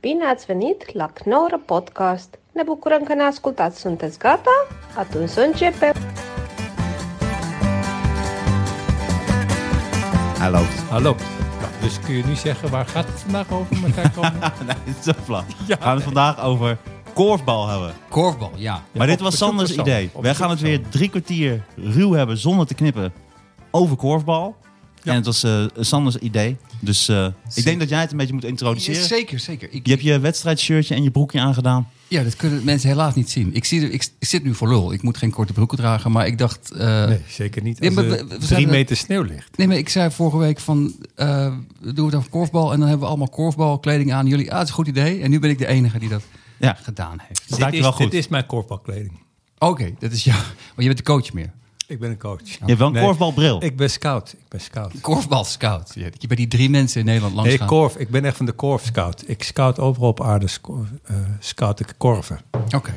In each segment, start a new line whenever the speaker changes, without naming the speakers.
Bine ați venit la Knorr Podcast! Ne bucurăm că ne ascultați. Sunteți gata? Atunci să începem!
Hij loopt.
Hij loopt. Ja, dus kun je nu zeggen waar gaat het vandaag over, Martijn Kamp?
Ah, nee, het is zo plat.
Ja.
We gaan het vandaag over korfbal hebben.
Korfbal, ja.
maar dit
op
was
bezoek
Sanders
was Sander.
idee.
Op
Wij
bezoek
gaan het
was
weer drie kwartier ruw hebben zonder te knippen over korfbal.
Ja.
En het was eh, Sanders idee. Dus eh, ik
Zie-
denk dat jij het een beetje moet introduceren.
Zeker, zeker. Ik,
Je hebt je wedstrijdshirtje en je broekje aangedaan.
Ja, dat kunnen mensen helaas niet zien. Ik, zie, er- ik, ik zit nu voor lul. Ik moet geen korte broeken dragen, maar ik dacht... eh,
Nee, zeker niet.
Nee,
Als
maar
er
we- we
drie
zouden-
meter sneeuw ligt.
nee, maar ik zei vorige week van... eh, doen we het over korfbal en dan hebben we allemaal korfbalkleding aan. Jullie, ah, het is een goed idee. En nu ben ik de enige die dat
Ja.
gedaan heeft.
Dit
dit,
je
is,
wel goed.
dit is mijn korfbalkleding.
Oké, dat is jou. Maar je bent de coach meer.
Ik ben een coach.
Je hebt wel een
Nee,
korfbalbril.
Ik ben scout. Ik ben scout.
Korfbalscout. Je je bent die drie mensen in Nederland langs
Nee,
gaan.
korf. Ik ben echt van de korf scout. Ik scout overal op aarde. sco- eh, scout ik korven.
Oké,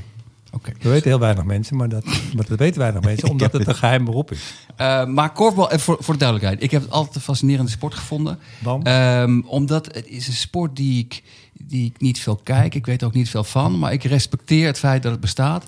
oké.
Dat weten heel weinig mensen, maar dat, maar dat weten weinig mensen, omdat het een geheim beroep is.
Eh, maar korfbal, eh, voor, voor de duidelijkheid, ik heb het altijd een fascinerende sport gevonden.
Want?
Ehm, omdat het is een sport die ik, die ik niet veel kijk. Ik weet er ook niet veel van. Maar ik respecteer het feit dat het bestaat.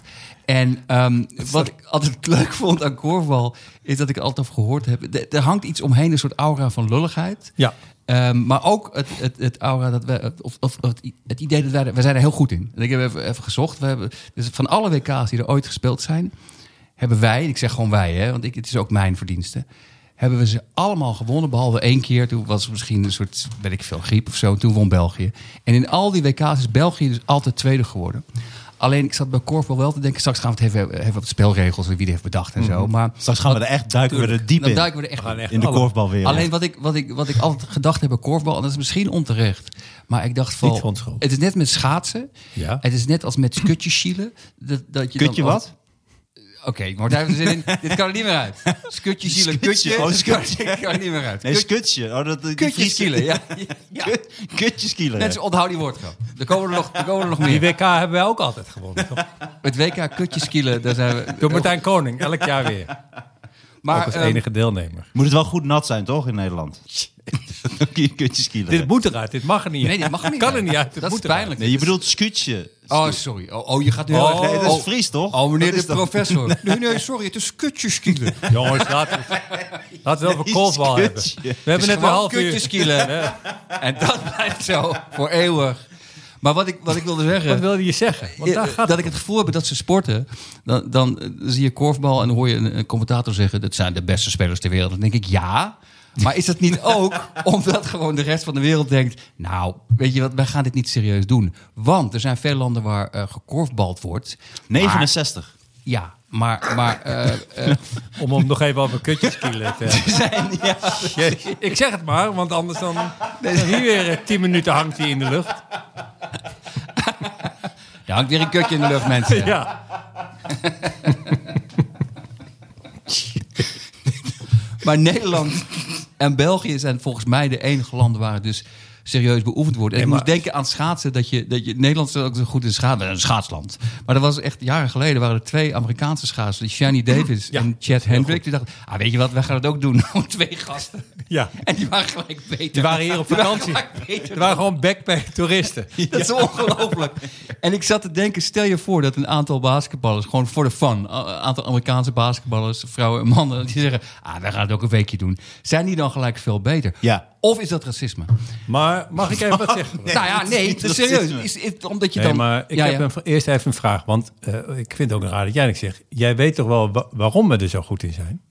En ehm, wat ik altijd leuk vond aan korfbal, is dat ik er altijd over gehoord heb. Er- Er hangt iets omheen, een soort aura van lulligheid.
Ja.
Ehm, maar ook het, het, het aura dat wij, het- of, of het, i- het idee dat wij, er- wij zijn er heel goed in. En ik heb even, even gezocht. We hebben, dus van alle WK's die er ooit gespeeld zijn, hebben wij, en ik zeg gewoon wij, hè, want ik, het is ook mijn verdienste, hebben we ze allemaal gewonnen, behalve één keer. Toen was het misschien een soort, weet ik veel, griep of zo. Toen won België. En in al die WK's is België dus altijd tweede geworden. Alleen ik zat bij korfbal wel te denken, straks gaan we het even, even op de spelregels en wie die heeft bedacht en zo. Maar
Straks gaan Mhm. we er echt duiken we er diep
dan
in.
Nou, duiken we er echt
We gaan
in.
echt
in de
alle-
korfbalwereld.
Alleen wat ik, wat, ik, wat ik altijd gedacht heb bij korfbal, en dat is misschien onterecht, maar ik dacht
Niet
van,
onschuldig.
het is net met schaatsen,
Ja.
het is net als met kutje schielen. Dat, dat je dan
Kutje
als-
wat?
Oké, maar daar hebben we zin in. Dit kan er niet meer uit. Skutje schielen,
Skutje,
kutje,
oh,
dit kan-
skutje.
dit kan er niet meer uit.
Nee,
Kut-
skutje. Oh, dat, die
kutje
Friese-
schielen, ja. ja.
Kut- Kutje schielen.
Mensen, onthoud die woordgrap. Er komen er nog, er komen er nog
Die
meer.
WK hebben wij ook altijd gewonnen. toch?
Met WK kutje schielen, daar zijn we.
Door Martijn Koning, elk jaar weer. eh, Ook
Maar
als
ehm,
enige deelnemer.
Moet het wel goed nat zijn, toch, in Nederland? Dan kun je kutje schielen.
Dit moet eruit, dit mag er niet
nee, dit mag er niet.
Kan er
uit.
niet uit, dit
Dat is
moet eruit.
pijnlijk.
Nee, je bedoelt skutje.
Oh, sorry. Oh, oh, je gaat nu
Oh,
heel erg-
Nee, dat
oh.
is Fries, toch?
Oh, meneer
Dat
de
is toch-
professor. Nee, nee, sorry, het is kutje skielen.
Jongens, laten we, laten we het over
Nee,
korfbal hebben.
kutje.
We
Het
hebben
is
net een
gewoon
half uur.
kutjes kielen. En dat blijft zo voor eeuwig. Maar wat ik, wat ik wilde zeggen...
Wat wilde je zeggen? Want daar
eh,
gaat
dat ik het gevoel heb dat ze sporten. Dan, dan eh, zie je korfbal en dan hoor je een, een commentator zeggen... dat zijn de beste spelers ter wereld. Dan denk ik, ja. Maar is dat niet ook omdat gewoon de rest van de wereld denkt... nou, weet je wat, wij gaan dit niet serieus doen. Want er zijn veel landen waar eh gekorfbald wordt. Maar,
69.
ja, maar... maar eh, eh,
Om hem nog even over kutjes kielen te
Dus
hebben. Jezus. Ik zeg het maar, want anders dan... dan hier weer eh, 10 minuten hangt hij in de lucht.
er hangt weer een kutje in de lucht, mensen.
Ja.
Maar Nederland en België zijn volgens mij de enige landen waar het dus serieus beoefend wordt. En ik
Nee, maar-
moest denken aan schaatsen, dat je, dat je Nederland is ook zo goed in schaatsen, een schaatsland. Maar dat was echt jaren geleden, waren er twee Amerikaanse schaatsers, die Shani Davis
Ja,
en Chad Hendrick. Die dachten, ah, weet je wat, wij gaan het ook doen. Gewoon twee gasten.
ja.
En die waren gelijk beter.
Die waren hier op vakantie.
Die waren gelijk
Het
beter.
waren gewoon backpack-toeristen.
Dat is ongelooflijk. En ik zat te denken, stel je voor dat een aantal basketballers, gewoon voor de fun, een aantal Amerikaanse basketballers, vrouwen en mannen, die zeggen, ah, wij gaan het ook een weekje doen. Zijn die dan gelijk veel beter?
Ja.
Of is dat racisme?
Maar mag ik even wat zeggen?
nou ja, nee,
niet
het is serieus.
racisme.
Is, is- omdat je
Nee,
dan...
maar ik
ja,
heb
ja.
Een, eerst even een vraag. Want eh, ik vind het ook raar dat jij niks zegt. Jij weet toch wel wa- waarom we er zo goed in zijn?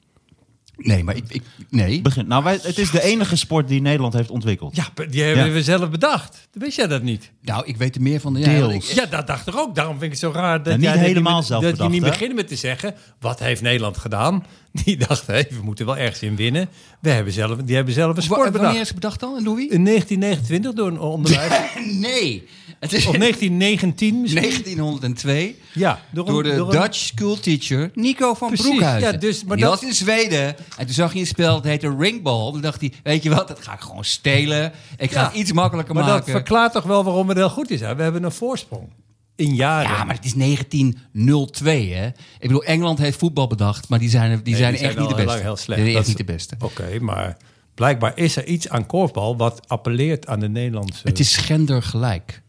Nee, maar ik... ik nee.
Begin. Nou, wij, het is de enige sport die Nederland heeft ontwikkeld.
Ja, die hebben
Ja.
we zelf bedacht. Wist jij dat niet?
Nou, ik weet er meer van. Ja,
Deels.
ik-
Ja, dat dacht ik ook. Daarom vind ik het zo raar dat,
Nou, niet
jij dit
helemaal
meer-
zelf
dat
bedacht,
je niet
hè?
begint met te zeggen... wat heeft Nederland gedaan? Die dacht, hé, we moeten wel ergens in winnen. We hebben zelf, die hebben zelf een
Wa-
sport bedacht.
Wanneer is het bedacht dan, Louis?
In 1929 door een onderwijs...
Nee. Het is
of 1919 misschien?
1902.
Ja,
Door de
een-
Dutch schoolteacher Nico van
Precies,
Broekhuizen.
ja, dus- maar
die
dat-
was in Zweden. En toen zag hij een spel, dat heette Ringball. Toen dacht hij, weet je wat, dat ga ik gewoon stelen. Ik ga
Ja,
het iets makkelijker
Maar dat
maken.
verklaart toch wel waarom we er heel goed in zijn. We hebben een voorsprong. In jaren.
Ja, maar het is 1902, hè. Ik bedoel, Engeland heeft voetbal bedacht, maar die zijn, die zijn
die
echt
wel
niet de
heel
beste.
lang heel slecht.
Die
Dat
zijn echt
is- Oh,
niet de beste.
Oké, maar blijkbaar is er iets aan korfbal... wat appelleert aan de Nederlandse...
Het is gendergelijk.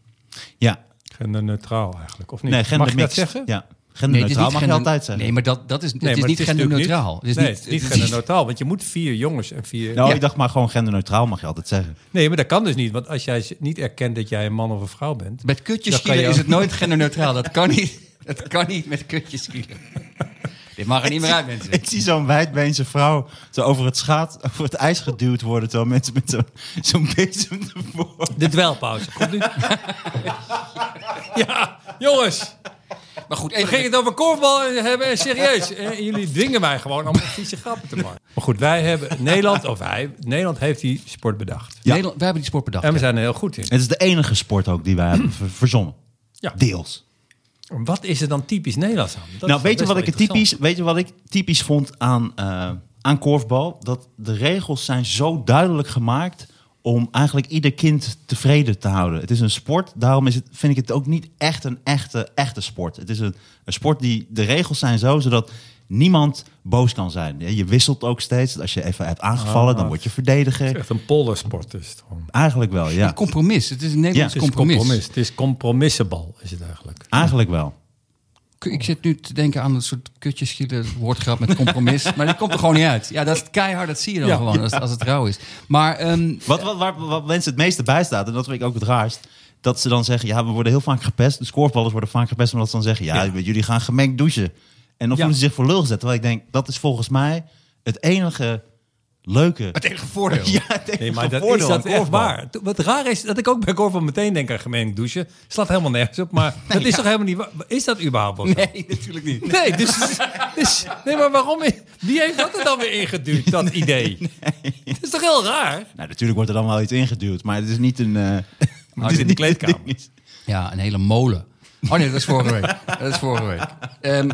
Ja,
Genderneutraal eigenlijk, of niet?
nee,
Mag je dat
gendermixed.
zeggen?
Ja,
Nee, het is
genderneutraal
niet
mag je
gender-
altijd zeggen.
Nee, maar dat, dat is, het
maar
is niet
natuurlijk
genderneutraal. Het is
nee,
niet-
het is niet
het is-
genderneutraal, want je moet vier jongens en vier...
Nou,
Ja.
ik dacht maar gewoon genderneutraal mag je altijd zeggen.
Nee, maar dat kan dus niet, want als jij niet erkent dat jij een man of een vrouw bent...
Met kutjes
Dat kan
schielen
je
is
ook.
het nooit genderneutraal. Dat kan niet. Dat kan niet met kutjes schielen. Dit mag er niet meer uit, mensen.
Ik zie zo'n wijdbeense vrouw zo over het schaat, over het ijs geduwd worden, terwijl mensen met zo- zo'n bezem ervoor.
De dwelpauze komt nu. ja, jongens,
Maar goed,
we
even
gingen het over korfbal hebben en serieus. En jullie dwingen mij gewoon allemaal vieze grappen te maken. Maar goed, wij hebben... Nederland, of hij, Nederland heeft die sport bedacht.
Nederland, we hebben die sport bedacht.
En we
ja.
zijn er heel goed in.
Het is de enige sport ook die wij hebben ver- verzonnen.
Ja.
Deels.
Wat is er dan typisch Nederlands aan? Dat
nou,
is wel
weet je,
best
wat
wel
ik het
interessant.
typisch, weet je wat ik typisch vond aan, eh, aan korfbal? Dat de regels zijn zo duidelijk gemaakt om eigenlijk ieder kind tevreden te houden. Het is een sport, daarom is het, vind ik het ook niet echt een echte, echte sport. Het is een, een sport die, de regels zijn zo, zodat niemand boos kan zijn. Ja, Je wisselt ook steeds. Als je even hebt aangevallen,
Ah.
dan word je
Het is
verdediger.
Echt een poldersport is het gewoon.
Eigenlijk wel, ja.
Een compromis. Het is een Nederlands
Ja,
Het is
compromis.
compromis. Het is compromissenbal, is het eigenlijk.
Eigenlijk wel.
Ik zit nu te denken aan een soort kutjes schielen woordgrap met compromis. maar dat komt er gewoon niet uit. Ja, dat is keihard. Dat zie je dan
Ja.
gewoon als, als het rauw is. Maar ehm,
Wat, wat, waar, wat mensen het meeste bijstaat, en dat vind ik ook het raarst, dat ze dan zeggen, ja, we worden heel vaak gepest. De scoreballers worden vaak gepest, omdat ze dan zeggen, ja,
Ja.
jullie gaan gemengd douchen. En dan
Ja.
voelen ze zich voor lul gezet. Terwijl ik denk, dat is volgens mij het enige leuke...
het enige voordeel.
ja, het enige
Nee, maar dat is
voordeel
dat
aan
echt
korfbal.
waar. To- Wat raar is, dat ik ook bij korfbal meteen denk aan gemeen douchen. Slaat helemaal nergens op, maar dat is toch helemaal niet waar? Is dat überhaupt wel zo?
Nee, natuurlijk niet.
Nee, dus, dus- nee, maar waarom? i- Wie heeft dat er dan weer ingeduwd, dat idee? Dat is toch heel raar?
Nou, natuurlijk wordt er dan wel iets ingeduwd, maar het is niet een... eh,
Maar het is in de kleedkamer.
ding is-
Ja, een hele molen. Oh nee, dat is vorige week. Dat is vorige week. Ehm,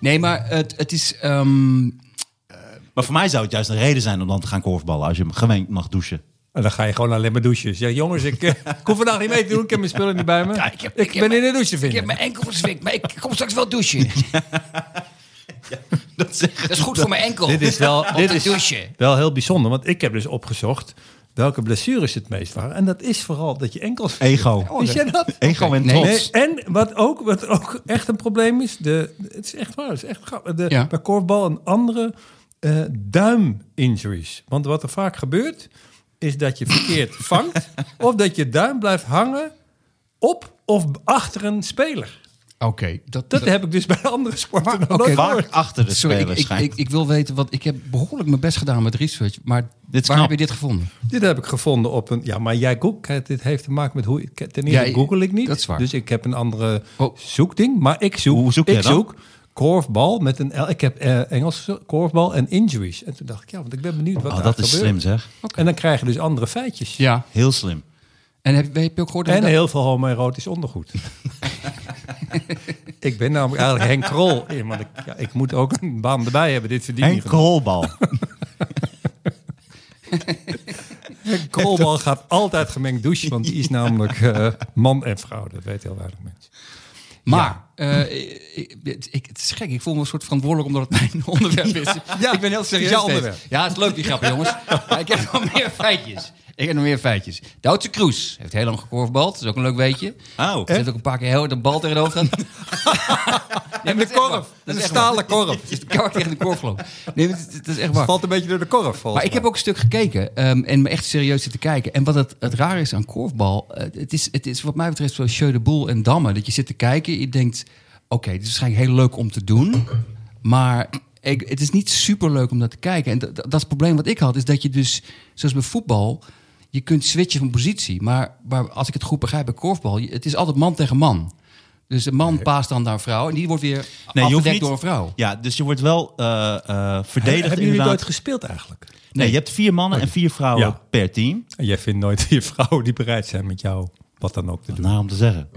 nee, maar het, het is... ehm,
Maar voor mij zou het juist een reden zijn om dan te gaan korfballen, als je gemengd mag douchen.
En dan ga je gewoon alleen maar douchen. Zeg, jongens, ik, eh, ik hoef vandaag niet mee te doen. Ik heb mijn spullen niet bij me.
Ja, ik
ik,
heb- ik heb
ben
mijn-
in de douche te
Ik
vinden.
heb mijn enkel verzwikt, maar ik kom straks wel douchen.
Dat zeggen
Dat is goed voor mijn enkel.
Dit is wel,
Om
dit
te
is
douchen.
wel heel bijzonder, want ik heb dus opgezocht welke blessures het meest waren. En dat is vooral dat je enkels...
ego.
Wist jij dat?
Ego en
Nee.
trots.
Nee, en wat ook, wat ook echt een probleem is, de, het is echt waar, het is echt grappig. De,
Ja.
Bij korfbal en andere eh duiminjuries. Want wat er vaak gebeurt, is dat je verkeerd vangt of dat je duim blijft hangen op of achter een speler.
Oké, dat,
Dat heb ik dus bij andere sporten nog
oké,
nooit
Vaak
gehoord.
achter de
Sorry, ik,
speler
ik,
schijnt.
ik, ik wil weten, want ik heb behoorlijk mijn best gedaan met research. Maar
Dit is
waar
knap.
heb je dit gevonden?
Dit heb ik gevonden op een. Ja, maar jij googelt. Dit heeft te maken met hoe. ik- Ten eerste
Ja,
google ik niet.
dat is waar.
Dus ik heb een andere
Oh.
zoekding. Maar ik zoek.
Hoe zoek jij
ik
dan?
zoek korfbal met een L. Ik heb eh, Engels gezocht, korfbal en injuries. En toen dacht ik, ja, want ik ben benieuwd wat
Oh,
daar
dat is
gebeurt.
slim zeg.
En dan krijg je dus andere feitjes.
Ja,
Heel slim.
en heb, heb je ook gehoord dat...
En
dat-
heel veel homoerotisch ondergoed. ik ben namelijk eigenlijk Henk Krol. Ja, maar ik, ja, ik moet ook een baan erbij hebben. Dit verdien
En
ik. genoeg.
krolbal.
Henk Krolbal gaat altijd gemengd douchen. Want die is namelijk eh, man en vrouw. Dat weet heel weinig mensen.
Maar, eh, ik, ik- ik- het is gek, ik voel me een soort verantwoordelijk omdat het mijn onderwerp is. Ja, ik ben heel serieus.
jouw
steeds.
onderwerp.
Ja, het is leuk die grap, jongens. Maar ik heb nog meer feitjes. Ik heb nog meer feitjes. De Oudse Kroes heeft heel lang gekorfbald. Dat is ook een leuk weetje.
Oh.
Er zit ook een paar keer heel hard een bal tegen de hoofd aan.
En de korf. Dat is een stalen korf.
Het is koud tegen de korf gelopen. Nee, maar het, het is echt waar.
valt een beetje door de korf.
Maar ik heb ook een stuk gekeken ehm, en me echt serieus zitten kijken. En wat het, het raar is aan korfbal, eh, het, is, het is wat mij betreft zoals Jeu de Boel en Damme. Dat je zit te kijken, je denkt, oké, dit is waarschijnlijk heel leuk om te doen. Maar ik, het is niet super leuk om naar te kijken. En dat, dat is het probleem wat ik had, is dat je dus, zoals bij voetbal, je kunt switchen van positie. Maar, maar als ik het goed begrijp bij korfbal, je- het is altijd man tegen man. Dus de man paast dan naar een vrouw en die wordt weer
je hoeft
afgedekt
niet-
door een vrouw.
Ja, dus je wordt wel eh, eh, verdedigd
Hebben jullie
inderdaad.
nooit gespeeld eigenlijk?
Nee, je hebt vier mannen en vier vrouwen
Ja.
per team.
En jij vindt nooit je vrouwen die bereid zijn met jou wat dan ook te doen.
Nou, om te zeggen.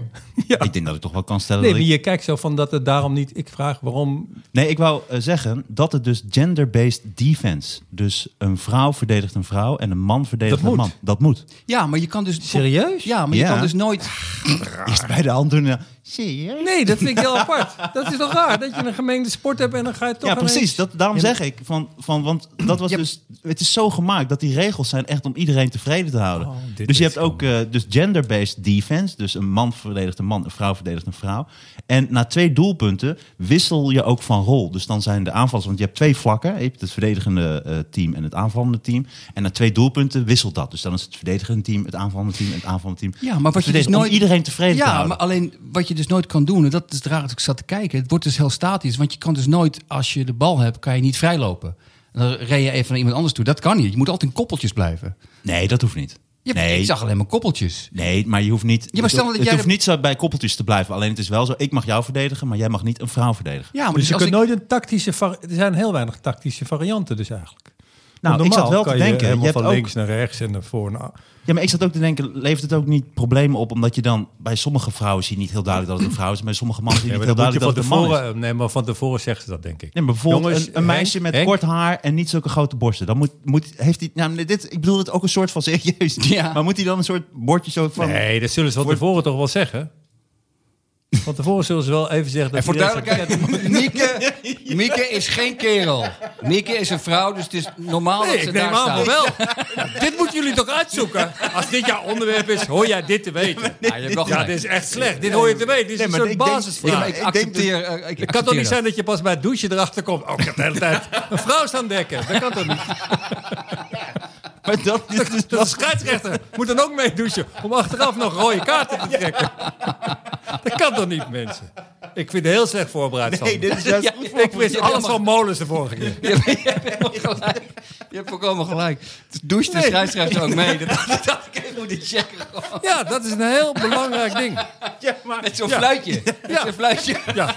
Ja.
Ik denk dat ik toch wel kan stellen
Nee,
dat
maar
ik...
je kijkt zo van dat het daarom niet... Ik vraag waarom...
Nee, ik wou eh, zeggen dat het dus gender-based defense. Dus een vrouw verdedigt een vrouw en een man verdedigt
Dat
een
moet.
man. Dat moet.
Ja, maar je kan dus...
Serieus?
Ja, maar je
Ja.
kan dus nooit...
Eerst bij de eh, hand doen. en dan, Zie je?
Nee, dat vind ik heel apart. Dat is toch raar? Dat je een gemengde sport hebt en dan ga je toch
Ja,
ineens-
precies. Dat, daarom zeg ik. Van, van, want dat was
Ja.
dus, het is zo gemaakt dat die regels zijn echt om iedereen tevreden te houden.
Oh, dit
dus je
is
hebt ook eh, dus gender-based best defense. Dus een man verdedigt een man, een vrouw verdedigt een vrouw. En na twee doelpunten wissel je ook van rol. Dus dan zijn de aanvallers, want je hebt twee vlakken. Je hebt het verdedigende eh, team en het aanvallende team. En na twee doelpunten wisselt dat. Dus dan is het verdedigende team, het aanvallende team en het aanvallende team.
Ja, maar wat je dus
Verdedigen, om
nooit...
iedereen tevreden te
Ja,
houden.
maar alleen wat je dus nooit kan doen, en dat is het raar als ik zat te kijken. Het wordt dus heel statisch, want je kan dus nooit, als je de bal hebt, kan je niet vrijlopen. Dan ren je even naar iemand anders toe. Dat kan niet. Je moet altijd in koppeltjes blijven.
Nee, dat hoeft niet.
Je,
nee.
Ik zag alleen maar koppeltjes.
Nee, maar je hoeft niet.
maar
het
stel
hoeft-
dat jij
het hoeft
de-
niet zo bij koppeltjes te blijven. Alleen het is wel zo. Ik mag jou verdedigen, maar jij mag niet een vrouw verdedigen.
Ja, maar
dus je
als
kunt
ik-
nooit een tactische... var- Er zijn heel weinig tactische varianten dus eigenlijk. Want
Nou, ik zat
normaal
wel
kan
te
je
denken.
helemaal
Je hebt
van
ook,
links naar rechts en naar voor. naar-
ja, maar ik zat ook te denken. Levert het ook niet problemen op? Omdat je dan bij sommige vrouwen zie je niet heel duidelijk dat het een vrouw is. en Bij sommige mannen zie je
Ja,
niet
maar
heel
dat moet je
duidelijk dat
van
het een man is.
tevoren... Nee, maar van tevoren zeggen ze dat, denk ik.
Nee, maar bijvoorbeeld
Jongens,
een, een meisje
Henk,
met
Henk.
kort haar en niet zulke grote borsten. Dan moet, moet, heeft hij, nou, dit, ik bedoel het ook een soort van serieus.
Ja.
Maar moet hij dan een soort bordje zo van...
Nee, dat zullen ze van tevoren toch wel zeggen? Van tevoren zullen ze wel even zeggen... Dat
En voor
die rechts-
duidelijkheid, Mieke, Mieke is geen kerel. Mieke is een vrouw, dus het is normaal
Nee,
dat
ik
ze
neem
daar
aan
staat.
van wel. dit moeten jullie toch uitzoeken? Als dit jouw onderwerp is, hoor jij dit te weten.
Ja, je hebt wel
Ja,
gelijk.
dit is echt slecht. Dit hoor je te weten. Dit is
Nee,
een
maar
soort
ik denk-
basisvraag.
Ja, maar
Ik
ik
denk-
accepteer... eh,
dus-
ik
Het kan
accepteer
toch niet
dat.
zijn dat je pas bij het douchen erachter komt. Oh, ik heb de hele tijd een vrouw staan dekken. Dat kan toch niet?
Maar dat is dus
De scheidsrechter moet dan ook mee douchen om achteraf nog een rode kaarten te trekken. Dat kan toch niet, mensen? Ik vind het heel slecht voorbereid.
Nee,
Sander.
dit is juist
Ja,
goed voor-
Ik wist alles van molens de vorige keer.
Je hebt, je hebt helemaal gelijk. Je hebt volkomen gelijk. Douche de scheidsrechter ook mee. Dat dat dacht ik even moeten checken. gewoon.
Ja, dat is een heel belangrijk ding.
Met zo'n
Ja.
fluitje. Met
Ja.
zo'n fluitje.
Ja.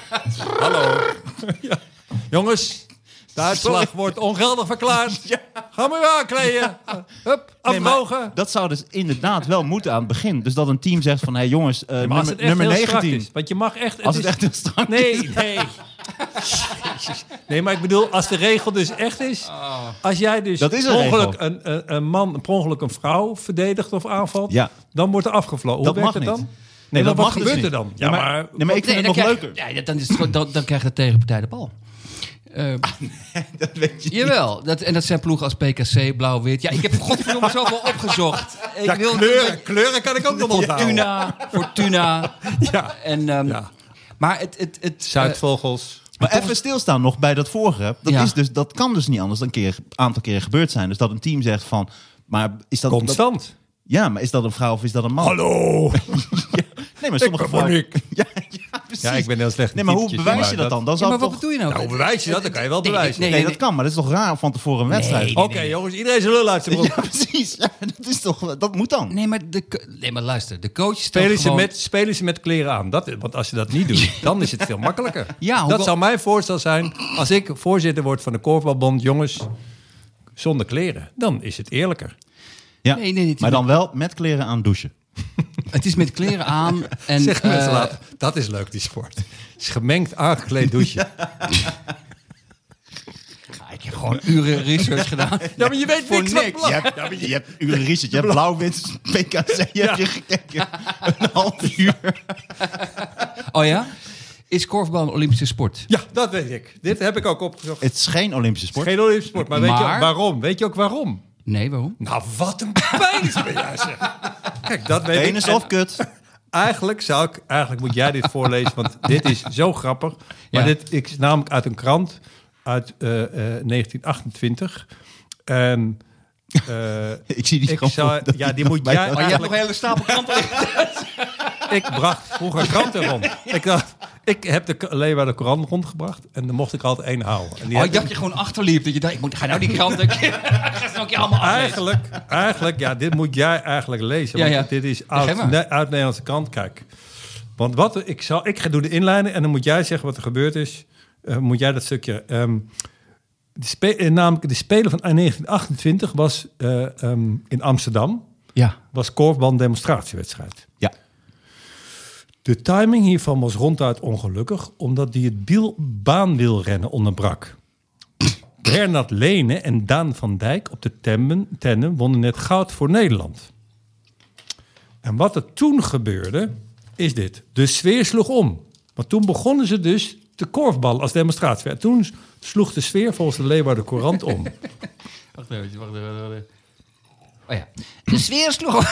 Hallo. Jongens, de uitslag wordt ongeldig verklaard. Ga maar weer aankleden. Hup,
Nee, maar
afdrogen.
dat zou dus inderdaad wel moeten aan het begin. Dus dat een team zegt van, hé hey, jongens, eh,
Maar als
nummer,
het echt
nummer
heel strak
19.
is, want je mag echt... het
als
is-
het echt heel strak is.
Nee, nee. Jezus. Nee, maar ik bedoel, als de regel dus echt is... Als jij dus
Ah. Dat is een
per ongeluk
regel.
een, een, een man, per ongeluk een vrouw verdedigt of aanvalt...
Ja.
dan wordt er afgevlogen. Hoe
Dat
werkt
mag
het
niet.
dan?
Nee,
En
dat
wat
mag dus
gebeurt
niet.
er dan?
Ja, maar, nee, maar ik vind
Nee,
het nog
dan krijg-
leuker.
Ja, dat- dan, is het gewoon- dan, dan krijgt de tegenpartij de bal. Eh,
Ah,
Dat weet je.
jawel, dat, en dat zijn ploegen als PKC, Blauw-Wit. Ja, ik heb godverdomme zoveel opgezocht. Ik
Ja,
wil
kleuren, kleuren kan ik ook nog onthouden.
Fortuna, Fortuna.
Ja.
En, ehm,
Ja.
Maar het... het, het eh,
Zuidvogels.
Maar even stilstaan nog bij dat vorige. Dat,
Ja.
is dus, dat kan dus niet anders dan een keer, aantal keren gebeurd zijn. Dus dat een team zegt van... Maar is dat, dat-
Constant.
ja, maar is dat een vrouw of is dat een man?
Hallo.
Nee, maar sommige
Ik ben
vrouwen...
Monique.
Ja, ja, precies.
Ja, ik ben heel slecht
Nee,
met
maar hoe
typetjes,
bewijs
maar
je dat
dat-
dan? Dan
ja,
zou
maar
het
wat
toch-
bedoel je nou?
Nou, hoe bewijs je dat? Dat kan je wel
Nee,
bewijzen.
Nee, dat kan, maar dat is toch raar van tevoren een wedstrijd?
nee,
Oké, jongens, iedereen zijn lul uit zijn broek.
Ja, precies. Ja, dat, is toch, dat moet dan.
Nee, maar, de, co- nee, maar luister. De coach stelt
Spelen ze,
gewoon...
met, spelen ze met kleren aan. Dat, want als je dat niet doet, dan is het veel makkelijker.
Ja, hoewel-
dat zou mijn voorstel zijn. Als ik voorzitter word van de korfbalbond, jongens, zonder kleren. Dan is het eerlijker.
Ja.
Nee, nee, nee,
maar dan wel met kleren aan douchen.
Het is met kleren aan. En,
Zeg mensen
eh,
later, dat is leuk, die sport. Het is gemengd aangekleed douchen. Ja,
Ah, Ik heb gewoon uren research gedaan.
maar je weet
Voor
niks van
niks.
belang-
Je hebt, je hebt uren research, je hebt blauw-wit, PKC, je hebt je gekeken. Een half uur.
Oh ja? Is korfbal een Olympische sport?
Ja, dat weet ik. Dit heb ik ook opgezocht.
Het is geen Olympische sport.
Geen Olympische sport, maar, weet je
Maar-
ook waarom? Weet je ook waarom?
Nee, waarom?
Nou, wat een penis ben jij, zeg. Kijk, dat weet
Penis
ik. En-
of kut.
Eigenlijk zou ik, eigenlijk moet jij dit voorlezen, want dit is zo grappig. Maar
Ja.
dit ik, is namelijk uit een krant uit eh, eh, 1928. En, eh,
Ik zie die
ik
gewoon
zou,
voor-
ja, die moet
bij-
jij.
Oh, je hebt nog
eigenlijk-
een hele stapel kranten.
ik bracht vroeger kranten rond. Ik dacht, ik heb de Leeuwarden Koran rondgebracht en dan mocht ik er altijd één houden. En die
Oh,
heb
ik dacht je gewoon achterliep. Dat je dacht, ik moet, ga nou die kranten... ga ze nog een keer allemaal aflezen.
Eigenlijk, eigenlijk, ja, dit moet jij eigenlijk lezen.
Ja,
want
ja.
dit is
Ja, geef
uit,
maar.
ne- uit Nederlandse kant. Kijk, want wat ik zal, ik ga doe de inleiding en dan moet jij zeggen wat er gebeurd is. Eh, moet jij dat stukje. ehm, de spe- eh, namelijk de Spelen van 1928 was eh, ehm, in Amsterdam
Ja.
was korfbal een demonstratiewedstrijd.
Ja.
De timing hiervan was ronduit ongelukkig, omdat die het biel- baanwielrennen onderbrak. Bernard Lene en Daan van Dijk op de temmen, tennen wonnen net goud voor Nederland. En wat er toen gebeurde, is dit. De sfeer sloeg om. Want toen begonnen ze dus te korfballen als demonstratie. En toen sloeg de sfeer volgens de Leeuwarden Courant om.
Wacht even, wacht even. wacht even.
Oh ja. De sfeer sloeg om.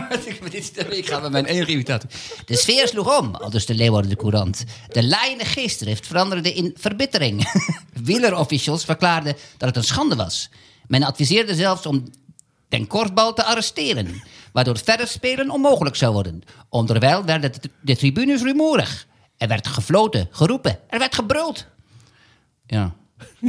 Met dit stem, ik ga met mijn enige irritatie. De sfeer sloeg om, aldus de Leeuwarden de Courant. De lijnen geestdrift veranderde in verbittering. Wielerofficials verklaarden dat het een schande was. Men adviseerde zelfs om ten korfbal te arresteren, waardoor verder spelen onmogelijk zou worden. Onderwijl werden de, de tribunes rumoerig. Er werd gefloten, geroepen, er werd gebruld. Ja.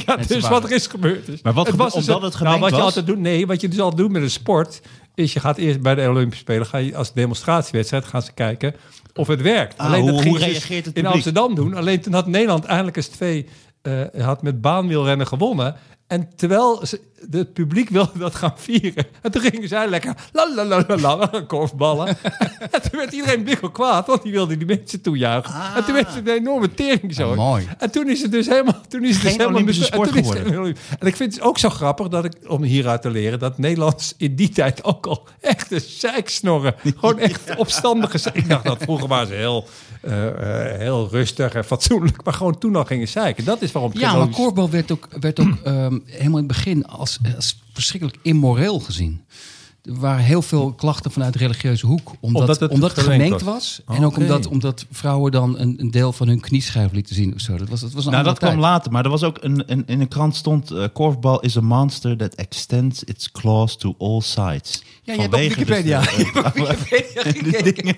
Ja,
Met
dus
z'n
wat er is gebeurd is.
Maar wat gebe- omdat het gemengd
nou, wat je
was?
altijd doet, nee, wat je dus altijd doet met een sport is je gaat eerst bij de Olympische Spelen ga je als demonstratiewedstrijd gaan ze kijken of het werkt.
Ah,
alleen
hoe-
dat ging
hoe
ze dus
reageert het
in
publiek?
Amsterdam doen. Alleen toen had Nederland eindelijk eens twee eh, had met baanwielrennen gewonnen. En terwijl ze, het publiek wilde dat gaan vieren. En toen gingen zij lekker la la la la la korfballen. en toen werd iedereen bikkel kwaad, want die wilde die mensen toejuichen.
Ah.
En toen werd het een enorme tering zo.
Ah, mooi.
En toen is het dus helemaal, toen is het
Geen
dus helemaal
Olympische
mis- en
sport
toen is het
geworden.
heel- En ik vind het ook zo grappig dat ik, om hieruit te leren, dat Nederlands in die tijd ook al echt een zeiksnorren. Gewoon echt opstandige. ze- Ik dacht dat vroeger waren ze heel, eh, eh, heel rustig en fatsoenlijk, maar gewoon toen al gingen zeiken. Dat is waarom. het
Ja,
geen
maar
Olympische-
korfbal werd ook, werd ook ehm, helemaal in het begin als, als verschrikkelijk immoreel gezien. Er waren heel veel klachten vanuit de religieuze hoek. Omdat,
Omdat
omdat
het
het,
gemengd
gemengd
was.
was. En ook
Oké.
omdat, omdat vrouwen dan een, een deel van hun knieschijf lieten zien. Of zo. Dat was, dat was een
Nou, dat
andere
kwam
tijd.
later, maar er was ook een, een, in een krant stond... eh, korfbal is a monster that extends its claws to all sides.
Ja, je hebt op
Vanwege
Wikipedia.
dus de-
Je hebt op Wikipedia
de
gekeken.
dingen.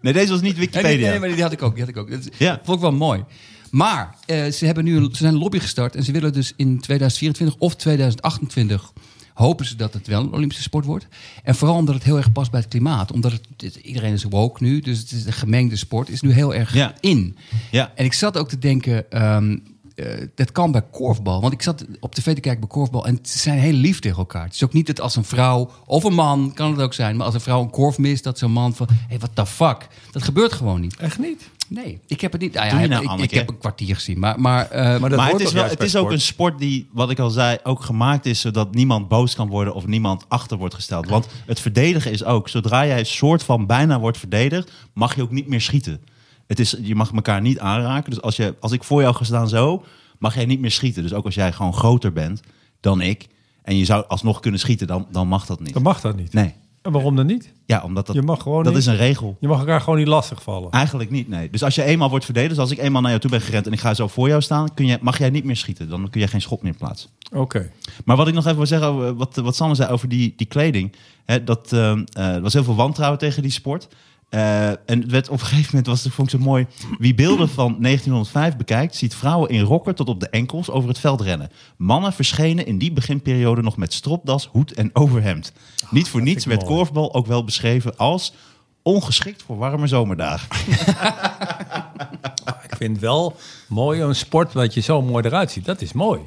Nee, deze was niet
Nee, nee,
Wikipedia.
nee, maar die had ik ook. Die had ik ook. Dat is-
Ja.
vond ik wel mooi. Maar eh, ze, hebben nu, een- ze zijn een lobby gestart en ze willen dus in 2024 of 2028 hopen ze dat het wel een Olympische sport wordt. En vooral omdat het heel erg past bij het klimaat. Omdat het, het- iedereen is woke nu, dus het is een gemengde sport. is nu heel erg
Ja.
in.
Ja.
En ik zat ook te denken, ehm, eh, dat kan bij korfbal. Want ik zat op tv te kijken bij korfbal en ze zijn heel lief tegen elkaar. Het is ook niet dat als een vrouw of een man, kan het ook zijn... maar als een vrouw een korf mist, dat zo'n man van... hé, hey, what the fuck? Dat gebeurt gewoon niet.
Echt niet.
Nee, ik heb het niet. Ah, ja,
Doe je nou,
ik- ik- ik,
Anneke?
heb een kwartier gezien. Maar, maar, eh,
Maar dat
maar
hoort
het is, wel,
toch juist
het
bij
is ook
sport?
een sport die, wat ik al zei, ook gemaakt is zodat niemand boos kan worden of niemand achter wordt gesteld. Want het verdedigen is ook, zodra jij een soort van bijna wordt verdedigd, mag je ook niet meer schieten. Het is, je mag elkaar niet aanraken. Dus als, je, als ik voor jou ga staan zo, mag jij niet meer schieten. Dus ook als jij gewoon groter bent dan ik en je zou alsnog kunnen schieten, dan, dan mag dat niet.
Dan mag dat niet.
Nee.
En waarom dan niet?
Ja, omdat dat,
Je mag gewoon
dat
niet.
is een regel.
Je mag elkaar gewoon niet lastigvallen.
Eigenlijk niet, nee. Dus als je eenmaal wordt verdedigd, dus als ik eenmaal naar jou toe ben gerend en ik ga zo voor jou staan, kun je, mag jij niet meer schieten. Dan kun jij geen schot meer plaatsen.
Oké.
Maar wat ik nog even wil zeggen, over eh, wat, wat Sanne zei over die, die kleding. Hè, dat, ehm, eh, er was heel veel wantrouwen tegen die sport. Eh, en het werd, op een gegeven moment was het, vond ik zo mooi. Wie beelden van 1905 bekijkt, ziet vrouwen in rokken tot op de enkels over het veld rennen. Mannen verschenen in die beginperiode nog met stropdas, hoed en overhemd. Niet voor niets
Ah, ik
werd
mooi.
korfbal ook wel beschreven als ongeschikt voor warme zomerdagen.
Ik vind wel mooi een sport dat je zo mooi eruit ziet. Dat is mooi.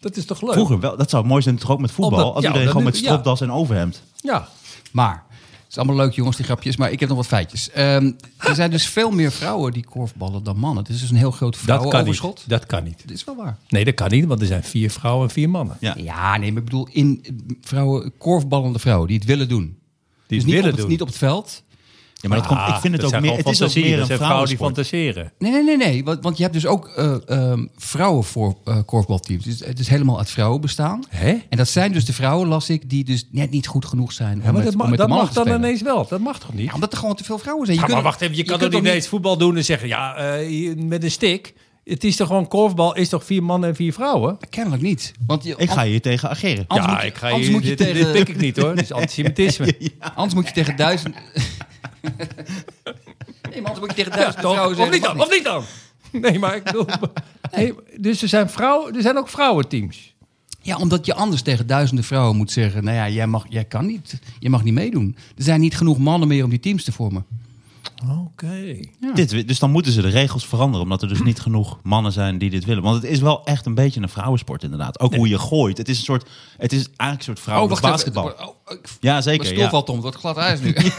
Dat is toch leuk?
Vroeger wel, dat zou mooi zijn toch ook met voetbal.
Omdat-
als
ja,
iedereen
Oh. dat
gewoon met
doet- ja.
stropdas en overhemd.
Ja.
maar het is allemaal leuk, jongens, die grapjes. Maar ik heb nog wat feitjes. Ehm, er zijn dus veel meer vrouwen die korfballen dan mannen. Het is dus een heel groot
Dat kan niet.
vrouwenoverschot.
Dat kan niet.
Dat is wel waar.
Nee, dat kan niet, want er zijn vier vrouwen en vier mannen.
Ja.
Ja, nee, maar ik bedoel in vrouwen, korfballende vrouwen die het willen doen.
Die het
dus niet
willen
op het,
doen.
Niet op het veld.
Ja,
Ah,
maar dat komt, ik vind het ook meer, het is ook meer een
die
vrouwensport.
fantaseren.
Nee, nee, nee, nee. Want, want je hebt dus ook eh ehm, vrouwen voor eh, korfbalteams. Dus het is helemaal uit vrouwen bestaan.
Hè?
En dat zijn dus de vrouwen, las ik, die dus net niet goed genoeg zijn om
Ja, maar
met,
dat
om
mag,
met
dat
de mannen
mag
te
dan
spelen.
ineens wel. Dat mag toch niet?
Ja, omdat er gewoon te veel vrouwen zijn. Je
Ja, maar
kunt-
wacht even, je, kan
kunt
toch niet
niet-
ineens voetbal doen en zeggen... ja, eh, hier, met een stick. Het is toch gewoon korfbal, is toch vier mannen en vier vrouwen?
Kennelijk niet. Want je,
Ik ga hier tegen ageren.
Anders moet je- anders moet je
dit, dit
tegen-
pik ik niet hoor, dat is antisemitisme.
an- Anders moet je tegen duizend... nee, maar anders moet je tegen duizend vrouwen
Of
zeggen...
niet
dat
dan,
mag
of niet dan. Nee, maar ik bedoel... Nee, dus er zijn, vrouwen, er zijn ook vrouwenteams.
niet. Ja, omdat je anders tegen duizenden vrouwen moet zeggen... Nou ja, jij, mag, jij kan niet. Je mag niet meedoen. Er zijn niet genoeg mannen meer om die teams te vormen.
Oké.
Ja.
Dit, dus dan moeten ze de regels veranderen, omdat er
Mm.
dus niet genoeg mannen zijn die dit willen. Want het is wel echt een beetje een vrouwensport inderdaad. Ook hoe je gooit. Het is een soort, het is eigenlijk een soort vrouwen
Oh, even.
basketbal.
Het wordt- oh, ik-
ja,
Mijn
zeker.
stoel
Ja.
valt om, het wordt glad ijs nu. Waarom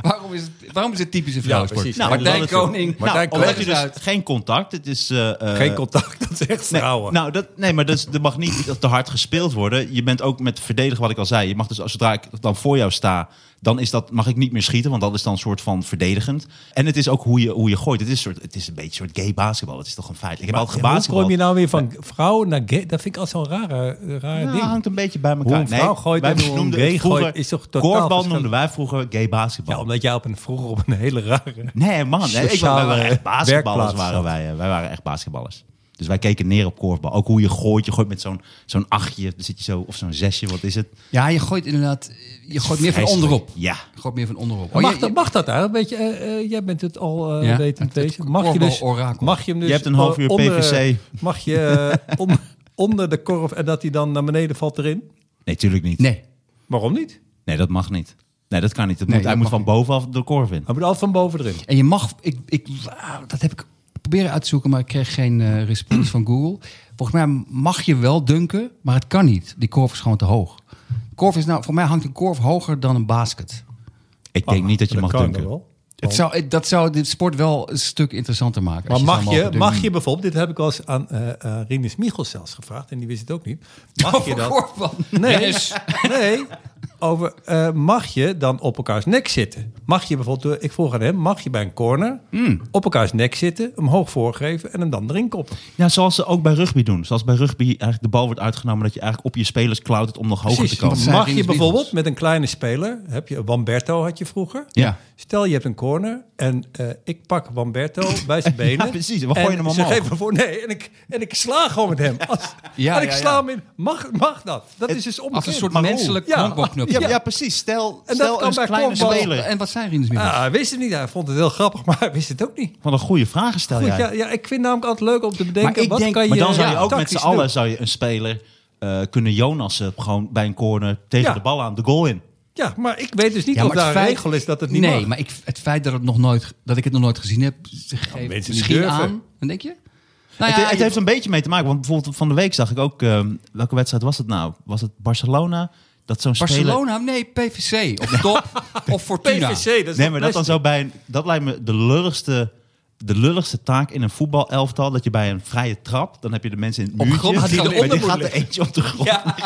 Daarom is het, daarom is het typische vrouwsport.
precies.
nou,
Nou,
Martijn
omdat het-
Koning.
Nou,
Martijn
omdat
Koning
je
is
dus
uit.
geen contact. Het is, eh, eh,
Geen contact, dat is echt
Nee,
vrouwen.
nou, dat, nee, maar dat, is- dat mag niet te hard gespeeld worden. Je bent ook met verdedigen, wat ik al zei. Je mag dus, als zodra ik dan voor jou sta, dan is dat, mag ik niet meer schieten. Want dat is dan een soort van verdedigend. En het is ook hoe je, hoe je gooit. Het is, soort, het is een beetje een soort gay basketbal. Het is toch een feit. Ik heb altijd
Maar hoe
gebasketbald.
kom je nou weer van vrouw naar gay? Dat vind ik altijd zo'n rare, rare
Nou,
ding.
hangt een beetje bij elkaar.
Hoe een vrouw gooit
wij
en hoe een
noemden
gay
het vroeger-
gooit is toch totaal
Korfbal
verschillend.
noemden wij vroeger gay basketbal.
Ja, omdat jij op een, vroeger op een hele rare...
Nee, man. Nee, ik, wij
Sociale
waren echt basketballers.
werkplaats
Waren
zat.
wij, eh, wij waren echt basketballers. Dus wij keken neer op korfbal. Ook hoe je gooit. Je gooit met zo'n zo'n achtje. Dan zit je zo, of zo'n zesje. Wat is het?
Ja, je gooit inderdaad. Je gooit meer van
Vreselijk.
onderop.
Ja.
Je gooit meer van onderop.
mag,
Oh, je-
dat,
je-
mag dat daar? Weet je, eh, eh, jij bent het al eh
Ja,
wetend
het- het
bezig. Mag je, dus,
korfbalorakel.
mag je hem dus...
Je hebt een half
eh,
uur
onder-
PVC.
Mag je eh, om- onder de korf en dat hij dan naar beneden valt erin?
Nee, tuurlijk niet.
Nee.
Waarom niet?
Nee, dat mag niet. Nee, dat kan niet. Dat
Nee,
moet, hij
dat
moet
mag
van bovenaf de korf in.
Hij moet altijd van boven erin.
En je mag, ik, ik, ah, dat heb ik proberen uit te zoeken, maar ik kreeg geen eh, respons van Google. Volgens mij mag je wel dunken, maar het kan niet. Die korf is gewoon te hoog. Korf is nou, voor mij hangt een korf hoger dan een basket.
Ik denk
Ah,
niet dat je mag
kan
dunken.
wel.
Het zou, het- dat zou dit sport wel een stuk interessanter maken. als
Maar
zou
mag je,
mogen
mag
dunken.
je bijvoorbeeld, dit heb ik wel eens aan eh eh, Rinus Michels zelfs gevraagd, en die wist het ook niet. Mag je dan?
Korfbal.
Nee,
Yes.
nee. Over, eh, mag je dan op elkaars nek zitten? Mag je bijvoorbeeld, eh, ik vroeg aan hem, mag je bij een corner
Hmm.
op elkaars nek zitten, hem hoog voorgeven en hem dan erin koppen?
Ja, zoals ze ook bij rugby doen. Zoals bij rugby eigenlijk de bal wordt uitgenomen... dat je eigenlijk op je spelers klautert om nog hoger
Precies.
te komen.
zijn
Mag je
Rinus
bijvoorbeeld
Michels.
met een kleine speler, heb je Wamberto had je vroeger.
Ja.
Stel je hebt een corner en eh, ik pak Wamberto bij zijn benen.
Ja, precies. We gooien
En
hem
Ze
omhoog.
geven me voor nee en ik, en ik sla gewoon met hem. Als,
Ja,
en ik
ja,
sla
ja.
hem in. Mag, mag dat? Dat is dus
Als
onbekend.
een soort
Maar hoe?
menselijk
Ja.
honkbalknuppel.
Ja,
Ja.
ja, precies. Stel,
dat
stel
kan
een
bij
kleine
korfbal.
speler...
En wat zijn Rinus Michels?
Ah, hij wist het niet. Hij vond het heel grappig, maar hij wist het ook niet.
Wat een goede vragen stel
Goed,
jij.
ja, ja, ik vind namelijk altijd leuk om te bedenken, wat kan je
Oh
eh,
maar dan zou je ook met z'n
tactisch
allen
doen?
zou je een speler eh, kunnen Jonassen gewoon bij een corner tegen
Ja.
de bal aan de goal in.
Ja, maar ik weet dus niet
Ja,
of
maar het
daar een
feit-
regel is dat het niet
nee,
mag.
maar ik, het feit dat, het nog nooit, dat ik het nog nooit gezien heb, geeft
mensen
misschien
durven.
aan. Dan denk je? Nou
het,
ja,
het
je-
heeft een beetje mee te maken, want bijvoorbeeld van de week zag ik ook... ehm, welke wedstrijd was het nou? Was het Barcelona? Dat zo'n speler...
Barcelona, nee, PVC. Op top. of Fortuna.
PVC, dat is
Nee, maar dat
best-
dan zo bij een, Dat lijkt me de lulligste... De lulligste taak in een voetbalelftal, dat je bij een vrije trap, dan heb je de mensen in het
Op
muurtje.
grond gaat die
Maar
eronder
die
moet
gaat er
liggen.
eentje op de grond.
Ja,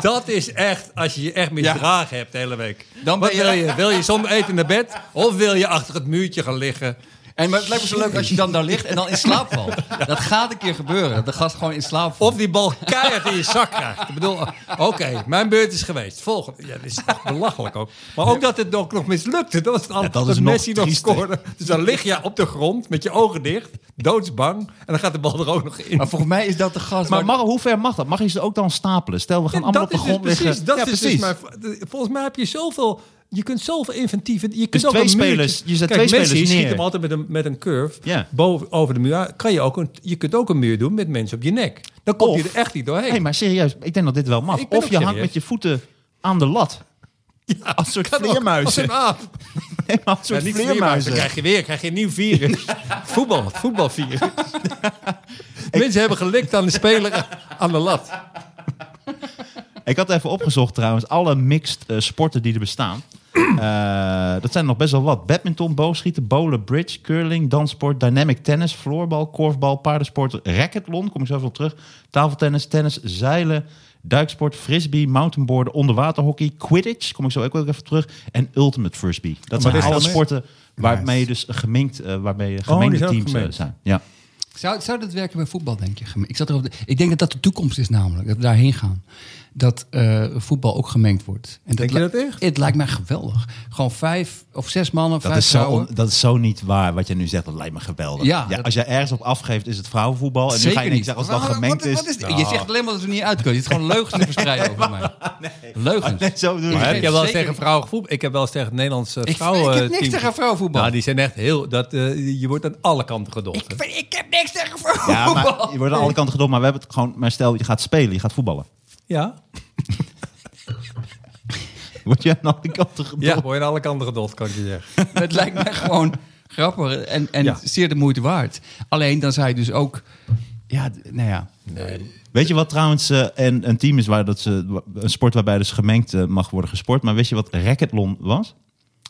dat is echt als je je echt misdragen hebt de hele week.
Dan
Wat
ben je-
wil je? Wil je zonder eten naar bed? Of wil je achter het muurtje gaan liggen?
En maar het lijkt me zo leuk als je dan daar ligt en dan in slaap valt. Dat gaat een keer gebeuren. Dat de gast gewoon in slaap valt.
Of die bal keihard in je zak krijgt. Ik bedoel, oké, mijn beurt is geweest. Volgende. Ja, dat is echt belachelijk ook. Maar ook dat het nog, nog mislukte. Dat was het andere.
dat
dat
is nog
Messi nog,
triester.
scoorde. Dus dan lig je op de grond met je ogen dicht. Doodsbang. En dan gaat de bal er ook nog in.
Maar volgens mij is dat de gast.
Maar
waar-
mag, hoe ver mag dat? Mag je ze ook dan stapelen? Stel, we gaan
Ja,
allemaal op de
is dus
grond liggen.
Precies, dat
Ja,
is dus mijn v- volgens mij heb je zoveel... Je kunt zoveel inventieve... Je kunt
Dus
ook
twee
een
spelers-
muurtje-
je zet
Kijk,
twee
Messi
spelers
schiet
neer.
hem altijd met een, met een curve
Ja.
boven, over de muur. aan. Kan je, ook een, je kunt ook een muur doen met mensen op je nek. Dan kom je
Of-
er echt niet doorheen.
Hé, maar serieus, ik denk dat dit wel mag.
Ik ben
Of
ook
je hangt
serieus.
met je voeten aan de lat.
Ja,
Als soort
kan ook. Als
vleermuizen.
een aap.
Nee, maar als soort
Ja,
vleermuizen.
niet vleermuizen. Dan krijg je weer krijg je een nieuw virus. voetbal, voetbalvirus. Mensen hebben gelikt aan de speler aan de lat.
Ik had even opgezocht trouwens, alle mixed eh, sporten die er bestaan. Eh, dat zijn er nog best wel wat. Badminton, boogschieten, bowlen, bridge, curling, danssport, dynamic tennis, floorbal, korfbal, paardensport, racketlon, kom ik zo even op terug, tafeltennis, tennis, zeilen, duiksport, frisbee, mountainboarden, onderwaterhockey, quidditch, kom ik zo ook wel even op terug, en ultimate frisbee. Dat
Maar
zijn
dit is
alle
dan-
sporten waarmee je dus gemengd, eh, waarmee je gemengde
zijn ook
teams eh,
gemengd.
zijn. Ja.
Zou, zou dat werken bij voetbal, denk je? Ik, zat erop, ik denk dat dat de toekomst is namelijk, dat we daarheen gaan. Dat eh, voetbal ook gemengd wordt. En
Denk je
li-
dat echt?
Het lijkt mij geweldig. Gewoon vijf of zes mannen,
Dat
vijf
is, zo
vrouwen.
on- dat is zo niet waar wat je nu zegt. Dat lijkt me geweldig.
Ja,
Ja,
dat-
als je ergens op afgeeft, is het vrouwenvoetbal. En nu ga je niks zeggen als het dan
Wat-
gemengd
wat-
is. Nou.
wat Je zegt alleen maar dat we niet uit kunnen. Je zit gewoon leugens te verspreiden over mij. Leugens.
Nee, zo bedoel ik
Maar
het
Ik
niet.
heb wel eens
Zeker
tegen
niet.
vrouwen gevoetbald. Ik heb wel eens tegen het Nederlandse
ik,
vrouwen.
ik heb niks tegen vrouwenvoetbal.
Nou, die zijn echt heel. Dat, eh, je wordt aan alle kanten gedold.
ik, ik heb niks tegen vrouwenvoetbal.
Ja, maar je wordt aan alle kanten gedopt. Maar we hebben het gewoon. Maar stel, je gaat spelen, je gaat voetballen.
Ja?
Word je aan alle kanten gedopt?
Ja, word je aan alle kanten gedold, kan ik je zeggen.
Het lijkt mij gewoon grappig en, en
Ja.
zeer de moeite waard. Alleen dan zou je dus ook... Ja, d- nou ja.
Weet je wat trouwens eh, en, een team is waar dat ze, een sport waarbij dus gemengd eh, mag worden gesport. Maar weet je wat racketlon was?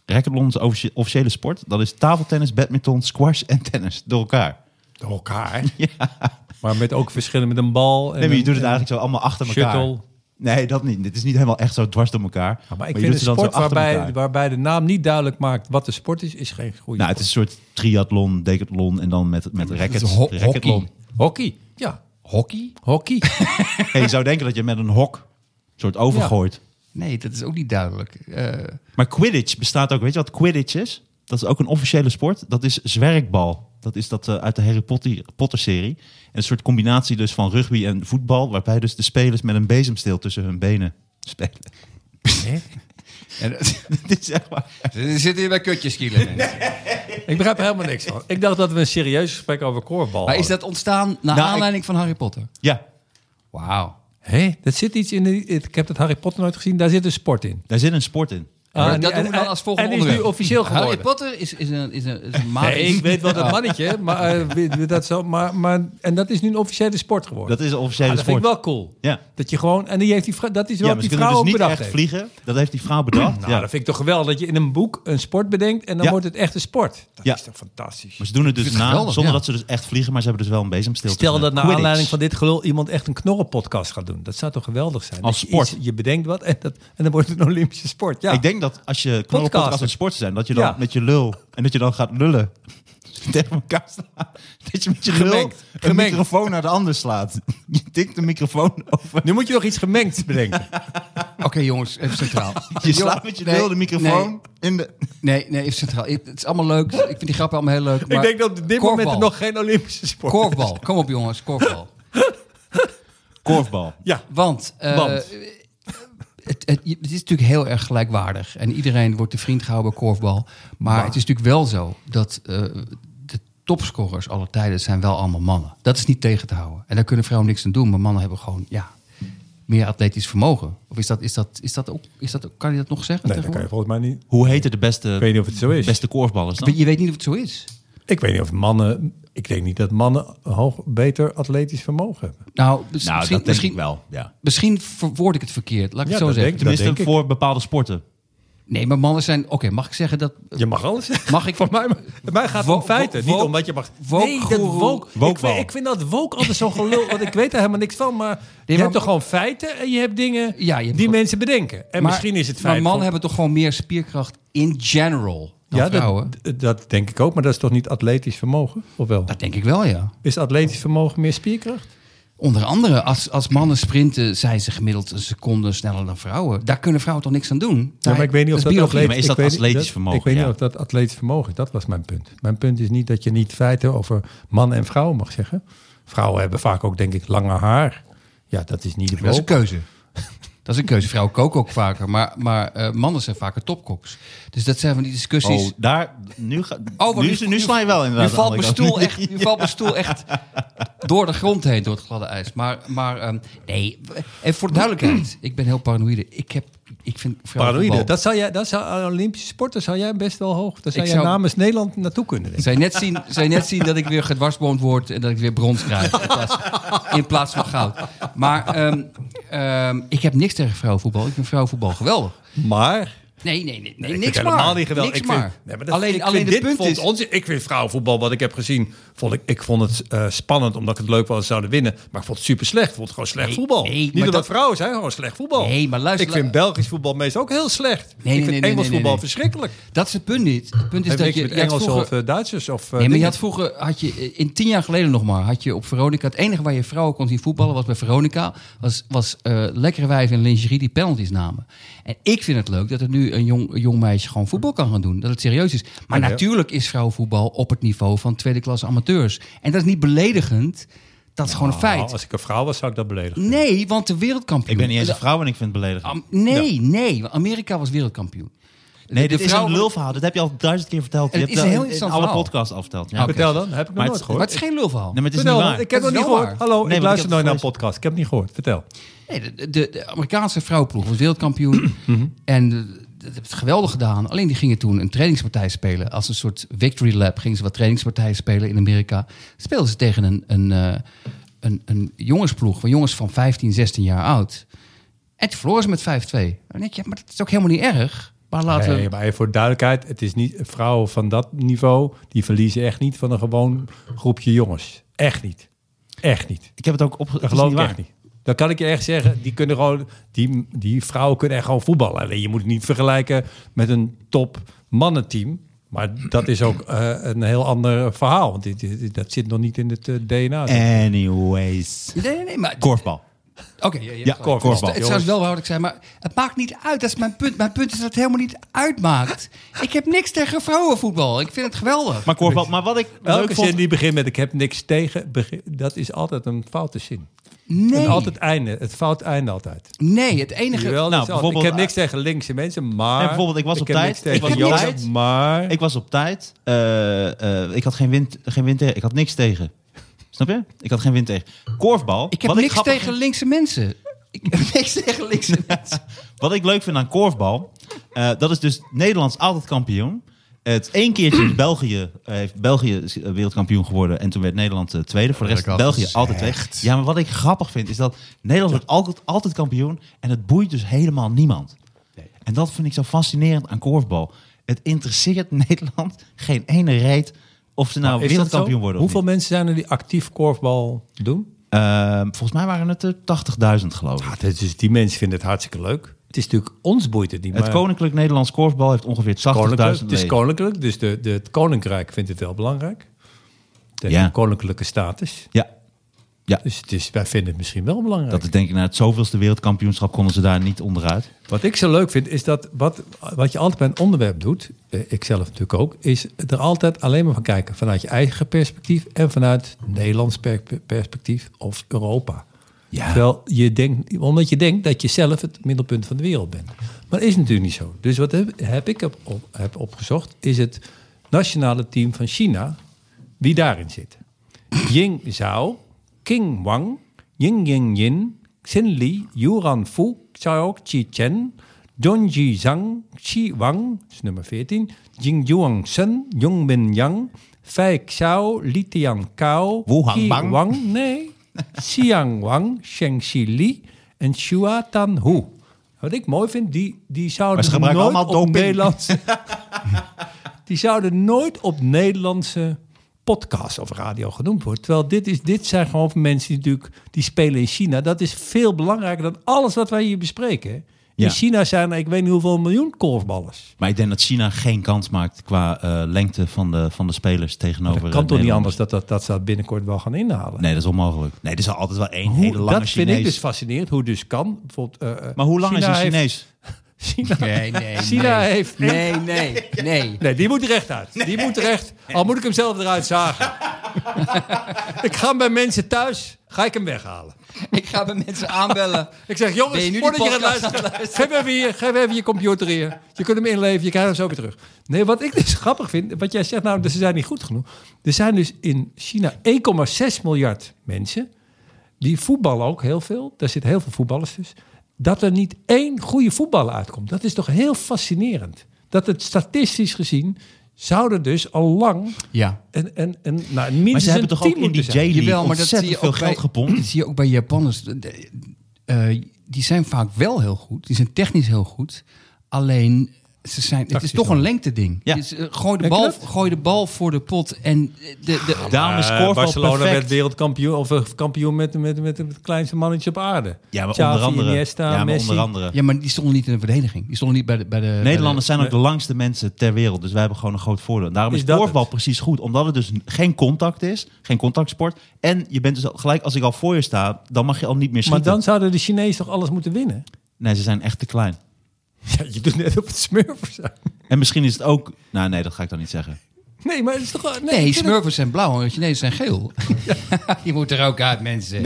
Racquetballon is offici- officiële sport. Dat is tafeltennis, badminton, squash en tennis door elkaar.
Door elkaar. Maar met ook verschillen met een bal. En
Nee, maar je
een-
doet het eigenlijk zo allemaal achter elkaar.
Shuttle.
Nee, dat niet. Dit is niet helemaal echt zo dwars door elkaar.
Maar ik
je
vind
doet
een
ze dan zo
sport
achter
waarbij,
elkaar.
waarbij de naam niet duidelijk maakt wat de sport is, is geen goede
Nou, het is een soort triathlon, decathlon en dan met, met rackets.
ho- hockey.
racketlon.
Hockey. Ja,
Hockey?
hockey.
Hey, je zou denken dat je met een hok een soort overgooit.
Nee, dat is ook niet duidelijk. Eh,
Maar Quidditch bestaat ook. Weet je wat Quidditch is? Dat is ook een officiële sport. Dat is zwerkbal. Dat is dat eh, uit de Harry Potter, Potter serie. Een soort combinatie dus van rugby en voetbal. Waarbij dus de spelers met een bezemsteel tussen hun benen spelen.
en,
Dit is echt waar.
er zitten hier bij kutjes kielen, mensen.
ik begrijp er helemaal niks van. Ik dacht dat we een serieus gesprek over korfbal
Maar is
hadden.
dat ontstaan naar
Nou,
ik-
aanleiding van Harry Potter?
Ah,
Ja,
Wauw.
Hé, dat zit iets in. die- ik heb dat Harry Potter nooit gezien. Daar zit een sport in.
daar zit een sport in.
Ah, en-
dat doen we dan
en-
als volgende
En is nu
onderwerp.
officieel
Harry
geworden.
Potter is, is een, is een, is een magisch-
Nee, ik weet wel dat
Oh.
mannetje, maar, eh, wie- wie dat zo, maar, maar en dat is nu een officiële sport geworden.
Dat is een officiële
Ah, dat vind
sport.
ik wel cool.
Ja.
Dat je gewoon en die heeft die vrou- dat is wel
Ja, maar
wat
ze
die
kunnen
vrouw
dus
ook
niet
bedacht
echt
heeft.
vliegen. Dat heeft die vrouw bedacht.
Nou,
ja.
dat vind ik toch geweldig dat je in een boek een sport bedenkt en dan
Ja.
wordt het echt een sport. Dat
Ja.
is toch fantastisch.
Maar ze doen het dus
vind het
na,
geweldig,
zonder
ja.
dat ze dus echt vliegen, maar ze hebben dus wel een bezemsteel.
Stel
tussen.
dat naar
Quidditch.
aanleiding van dit gelul iemand echt een knorrenpodcast gaat doen. Dat zou toch geweldig zijn?
Als
Dat je
sport.
iets- je bedenkt wat en, dat, en dan wordt het een Olympische sport. Ja.
Ik denk dat als je knorrelpodcast
Podcasten.
en sport zijn, dat je dan
Ja.
met je lul en dat je dan gaat lullen tegen elkaar slaan. Dat je met je lul
Gemengd.
een
Gemengd.
microfoon naar de ander slaat. Je tikt de microfoon over.
Nu moet je nog iets gemengds bedenken.
Oké, jongens, even centraal.
Ah,
Je slaat met je
Nee,
lul de microfoon
Nee,
in de...
nee, nee, even centraal. Ik- Het is allemaal leuk. Ik vind die grappen allemaal heel leuk. Maar
ik denk dat op dit moment
korfbal.
er nog geen Olympische sport is.
Korfbal. Kom op, jongens. Korfbal.
Korfbal.
Ja,
Want... eh,
Want?
Het, het, het is natuurlijk heel erg gelijkwaardig. En iedereen wordt de vriend gehouden bij korfbal. Maar het is natuurlijk wel zo dat eh, de topscorers alle tijden zijn wel allemaal mannen. Dat is niet tegen te houden. En daar kunnen vrouwen niks aan doen. Maar mannen hebben gewoon ja, meer atletisch vermogen. Of is dat, is dat, is dat ook, is dat, ook- kan je dat nog zeggen?
nee, dat kan je
tegenwoordig?
volgens mij niet.
Hoe heten de beste,
weet niet of het zo is.
beste korfballers dan?
je, weet niet of het zo is.
Ik weet niet of mannen. Ik denk niet dat mannen hoog, beter atletisch vermogen hebben.
Nou,
Nou,
bes-
dat
misschien,
denk
misschien,
ik wel. Ja.
misschien verwoord ik het verkeerd. Laat ik
Ja,
het zo
dat
zeggen.
denk
Tenminste
denk ik.
voor bepaalde sporten.
Nee, maar mannen zijn... Oké, mag ik zeggen dat...
Je mag alles. zeggen.
Mag ik...
Voor mij, voor mij gaat het om
Woke-
feiten, niet
woke-
omdat je mag.
woke goeroe.
woke. Ik,
Wokebal.
vind- ik vind dat woke altijd zo'n gelul, want ik weet daar helemaal niks van. Maar je
maar-
hebt toch gewoon feiten en je hebt dingen
Ja, je hebt
die
gewoon-
mensen bedenken. En
Maar-
misschien is het feit.
Maar mannen
van-
hebben toch gewoon meer spierkracht in general dan
ja,
Nou, vrouwen?
dat,
Dat,
d- dat denk ik ook, maar dat is toch niet atletisch vermogen? Of wel?
denk ik wel, ja.
Is atletisch vermogen meer spierkracht?
Onder andere, als, als mannen sprinten, zijn ze gemiddeld een seconde sneller dan vrouwen. Daar kunnen vrouwen toch niks aan doen?
Ja,
Daar-
maar ik weet niet of dat,
biologie.
atletisch-
Maar is
ik
dat
weet niet-
atletisch vermogen?
Ik weet niet
Ja.
of dat atletisch vermogen is. Dat was mijn punt. Mijn punt is niet dat je niet feiten over mannen en vrouwen mag zeggen. Vrouwen hebben vaak ook, denk ik, lange haar. Ja, dat is niet de
Dat is een
woke.
keuze. Dat is een keuze. Vrouwen koken ook vaker, maar, maar eh, mannen zijn vaker topkoks. Dus dat zijn van die discussies.
Oh, daar, nu, ga,
Oh, maar
nu, nu, sla je wel inderdaad.
Nu valt
aan
mijn
de kant.
stoel echt, nu valt mijn stoel echt door de grond heen, door het gladde ijs. Maar, maar ehm, nee, en voor duidelijkheid, ik ben heel paranoïde. Ik, heb, ik vind
Paranoïde.
vrouwenvoetbal-
Dat zou jij, dat zou, aan Olympische sporten zou jij best wel hoog. Daar zou
Ik
jij
zou-
namens Nederland naartoe kunnen. Denk. ik.
Zij net zien, zij net zien dat ik weer gedwarsboomd word en dat ik weer brons krijg. In plaats, in plaats van goud. Maar ehm, ehm, ik heb niks tegen vrouwenvoetbal. Ik vind vrouwenvoetbal geweldig.
Maar.
Nee, nee, nee, nee
Ik
niks
vind
maar.
helemaal niet geweldig.
Niks
ik vind,
maar.
Nee, maar dat-
alleen
ik
alleen
vind
de
dit
punt
vond
is...
onzin. ik vind vrouwenvoetbal, wat ik heb gezien, vond ik, ik vond het eh, spannend omdat ik het leuk was zouden winnen. Maar ik vond het super slecht. Ik vond het gewoon slecht
Nee,
voetbal.
nee,
Niet
maar
omdat
dat-
vrouwen zijn gewoon slecht voetbal.
Nee, maar luister-
Ik vind Belgisch voetbal meestal ook heel slecht.
nee,
ik vind
nee, nee,
Engels
nee, nee,
voetbal
nee.
verschrikkelijk.
Dat is het punt niet. Het punt is
Heeft
dat
niks
je...
met
je had
Engels
vroeger-
of eh, Duitsers of. eh,
Nee, maar je
dingen.
had vroeger, had je, eh, in tien jaar geleden nog maar, had je op Veronica... Het enige waar je vrouwen kon zien voetballen was bij Veronica... was, was eh, lekkere wijven in lingerie die penalties namen. En ik vind het leuk dat er nu een jong, een jong meisje gewoon voetbal kan gaan doen. Dat het serieus is. Maar
Ja, ja.
natuurlijk is vrouwenvoetbal op het niveau van tweede klasse amateurs. En dat is niet beledigend. Dat is gewoon een
Nou,
feit.
als ik een vrouw was, zou ik dat beledigen.
Nee, want de wereldkampioen...
Ik ben niet eens een
de-
vrouw en ik vind het beledigend.
Am- nee, nee. want Amerika was wereldkampioen.
Nee, dit is een
vrouwen-
lulverhaal. Dat heb je al duizend keer verteld. Je
Het
hebt
is een
dat
heel
in- in
interessant
alle
verhaal. Ah,
podcasts al verteld. Ja.
Oké.
Vertel dan, heb ik nog
Maar het-
nooit
Maar
gehoord.
het is geen lulverhaal.
Nee, maar het is
Vertel
niet
dan,
waar.
ik heb
Dat
nog
is
niet
wel
gehoord.
waar.
Hallo,
Nee, want
ik
ik
luister
heb
nooit naar een
het
podcast. Ik heb het niet gehoord. Vertel.
Nee, de, de, de Amerikaanse vrouwenploeg was wereldkampioen. en eh, dat heeft het geweldig gedaan. Alleen die gingen toen een trainingspartij spelen. Als een soort victory lap gingen ze wat trainingspartijen spelen in Amerika. Speelden ze tegen een, een, eh, een, een jongensploeg van jongens van 15, 16 jaar oud. En toen verloren ze met 5-2. En ik, ja, maar dat is ook helemaal niet erg. Maar laten
Nee,
we...
maar even voor duidelijkheid, het is niet vrouwen van dat niveau, die verliezen echt niet van een gewoon groepje jongens. Echt niet. Echt niet.
Ik heb het ook opge...
Dat
het is
geloof ik
waar.
echt niet. Dat kan ik je echt zeggen. Die, kunnen gewoon, die, die vrouwen kunnen echt gewoon voetballen. Alleen je moet het niet vergelijken met een top mannenteam. Maar dat is ook eh, een heel ander verhaal. Want dit, dit- dat zit nog niet in het eh, DNA.
Anyways.
Nee, nee, nee, maar...
Korfbal.
Oké, ja, je hebt
Ja,
gelijk.
korfbal,
Het- Het zou
jongens.
wel houdelijk zijn, maar het maakt niet uit. Dat is mijn punt. Mijn punt is dat het helemaal niet uitmaakt. Ik heb niks tegen vrouwenvoetbal. Ik vind het geweldig.
Maar korfbal. Maar wat ik leuk
Elke
vond...
zin die begint met ik heb niks tegen, begin- dat is altijd een foute zin.
nee,
En altijd einde, het fout einde altijd.
nee, het enige...
Jawel,
Nou,
dat is altijd-
bijvoorbeeld-
ik heb eh, niks tegen linkse mensen, maar...
Nee, bijvoorbeeld, ik was op
heb
tijd,
niks tegen
ik was op
jongens,
tijd.
maar...
Ik was op tijd. Eh, eh, ik had geen wind, geen wind tegen. Ik had niks tegen. Snap je? Ik had geen wind tegen. Korfbal.
Ik heb
wat
niks
grappig-
tegen linkse mensen. Ik heb niks tegen linkse mensen.
Wat ik leuk vind aan korfbal, eh, dat is dus Nederlands altijd kampioen. Het één keertje in België eh, heeft België is, eh, wereldkampioen geworden en toen werd Nederland eh, tweede. Voor de rest
Heb ik al
België altijd tweede. Ja, maar wat ik grappig vind is dat Nederland wordt altijd, altijd kampioen en het boeit dus helemaal niemand. En dat vind ik zo fascinerend aan korfbal. Het interesseert Nederland geen ene reet of ze nou
Is dat
wereldkampioen
zo?
worden of
Hoeveel
niet.
mensen zijn er die actief korfbal doen?
Ehm, volgens mij waren het er 80.000 geloof ik.
Ja, dat is, die mensen vinden het hartstikke leuk. Het is natuurlijk ons boeit het niet.
Het Koninklijk Nederlands Korfbal heeft ongeveer 80.000
koninklijk, Het is
leden.
koninklijk, dus de, de, het koninkrijk vindt het wel belangrijk. De
Ja.
koninklijke status.
Ja,
Dus het is, wij vinden het misschien wel belangrijk.
Dat is denk ik na het zoveelste wereldkampioenschap konden ze daar niet onderuit.
Wat ik zo leuk vind, is dat wat, wat je altijd bij een onderwerp doet, eh, ik zelf natuurlijk ook, is er altijd alleen maar van kijken. Vanuit je eigen perspectief en vanuit Nederlands per- perspectief of Europa.
Ja.
Terwijl je denkt, omdat je denkt dat je zelf het middelpunt van de wereld bent. Maar dat is natuurlijk niet zo. Dus wat heb, heb ik op, op- heb opgezocht, is het nationale team van China, wie daarin zit. Ying Zhao, King Wang, Ying Ying Yin, Xin Li, Yuran Fu, Xiao Qi Chen, Dongji Zhang, Qi Wang, dat is nummer 14, Jing Yuan Sun, Yong Min Yang, Fei Xiao, Li Tian Kao,
Wu Hang
Qi
Bang.
Wang, nee, Xiang Wang, Sheng Shi Li en Xua Tan Hu. Wat ik mooi vind, die, die zouden
Maar ze gebruiken
nooit
allemaal
op
doping.
Nederlandse die zouden nooit op Nederlandse podcast of radio genoemd worden. Terwijl dit, is, dit zijn gewoon mensen die natuurlijk die spelen in China. Dat is veel belangrijker dan alles wat wij hier bespreken.
Ja.
In China zijn er, ik weet niet hoeveel miljoen korfballers.
Maar ik denk dat China geen kans maakt qua eh, lengte van de, van de spelers tegenover.
Dat kan
eh,
toch niet
Nederland.
anders dat, dat, dat ze dat binnenkort wel gaan inhalen.
Nee, dat is onmogelijk. Nee, er is altijd wel één
Hoe-
hele lange
dat vind
Chinees.
ik dus fascinerend, hoe dus kan. Bijvoorbeeld, eh, eh,
Maar hoe lang
China
is een
heeft-
Chinees?
China,
Nee, nee,
China
nee.
heeft-
Nee, nee, nee.
Nee, die moet recht uit. Die moet recht. Al moet ik hem zelf eruit zagen. ik ga hem bij mensen thuis, ga ik hem weghalen.
Ik ga bij mensen aanbellen.
Ik zeg, jongens,
Ben je nu die
voordat je gaat
podcast
luisteren,
aan het luisteren?
geef hem even hier, geef even je computer hier. Je kunt hem inleveren, je krijgt hem zo weer terug. Nee, wat ik dus grappig vind, wat jij zegt, nou, ze zijn niet goed genoeg. Er zijn dus in China 1,6 miljard mensen, die voetballen ook heel veel. Daar zitten heel veel voetballers dus. Dat er niet één goede voetballer uitkomt. Dat is toch heel fascinerend. Dat het statistisch gezien, zouden dus al lang
Ja.
een, een, een, nou,
Maar
minstens
ze hebben
een
toch ook
team
in die
moeten zijn.
J-League
Jawel, maar dat zie
ontzettend
je
veel
ook
geld
bij, Dat
gepompt.
zie je ook bij Japanners. De- de- eh, die zijn vaak wel heel goed. Die zijn technisch heel goed. Alleen, ze zijn, het is
Tactisch
toch
dan.
een lengteding.
Ja.
Dus, eh, gooi, de
Denk je
bal,
dat?
gooi de bal voor de pot. En de, de,
Daarom is
Eh,
korfbal
Barcelona
perfect.
werd wereldkampioen of eh, kampioen met, met, met het kleinste mannetje op aarde.
Ja, maar
Xavi,
onder andere.
Iniesta,
ja, maar
Messi.
onder andere.
ja, maar die stonden niet in de verdediging. Die stonden niet bij de... Bij de bij de-
Eh, Nederlanders zijn ook de langste mensen ter wereld, dus wij hebben gewoon een groot voordeel. En Daarom
Is
is,
dat
korfbal
het?
precies goed, omdat het dus geen contact is, geen contactsport. En je bent dus al- gelijk als ik al voor je sta, dan mag je al niet meer
Maar
schieten.
dan zouden de Chinezen toch alles moeten winnen?
Nee, ze zijn echt te klein.
Ja, je doet net op het smurfen zijn.
En misschien is het ook. Nou, nee, dat ga ik dan niet zeggen.
Nee, maar het is toch... wel- Nee,
Nee,
ik vind het-
smurfers zijn blauw en Chinezen zijn geel. je moet er ook uit, mensen.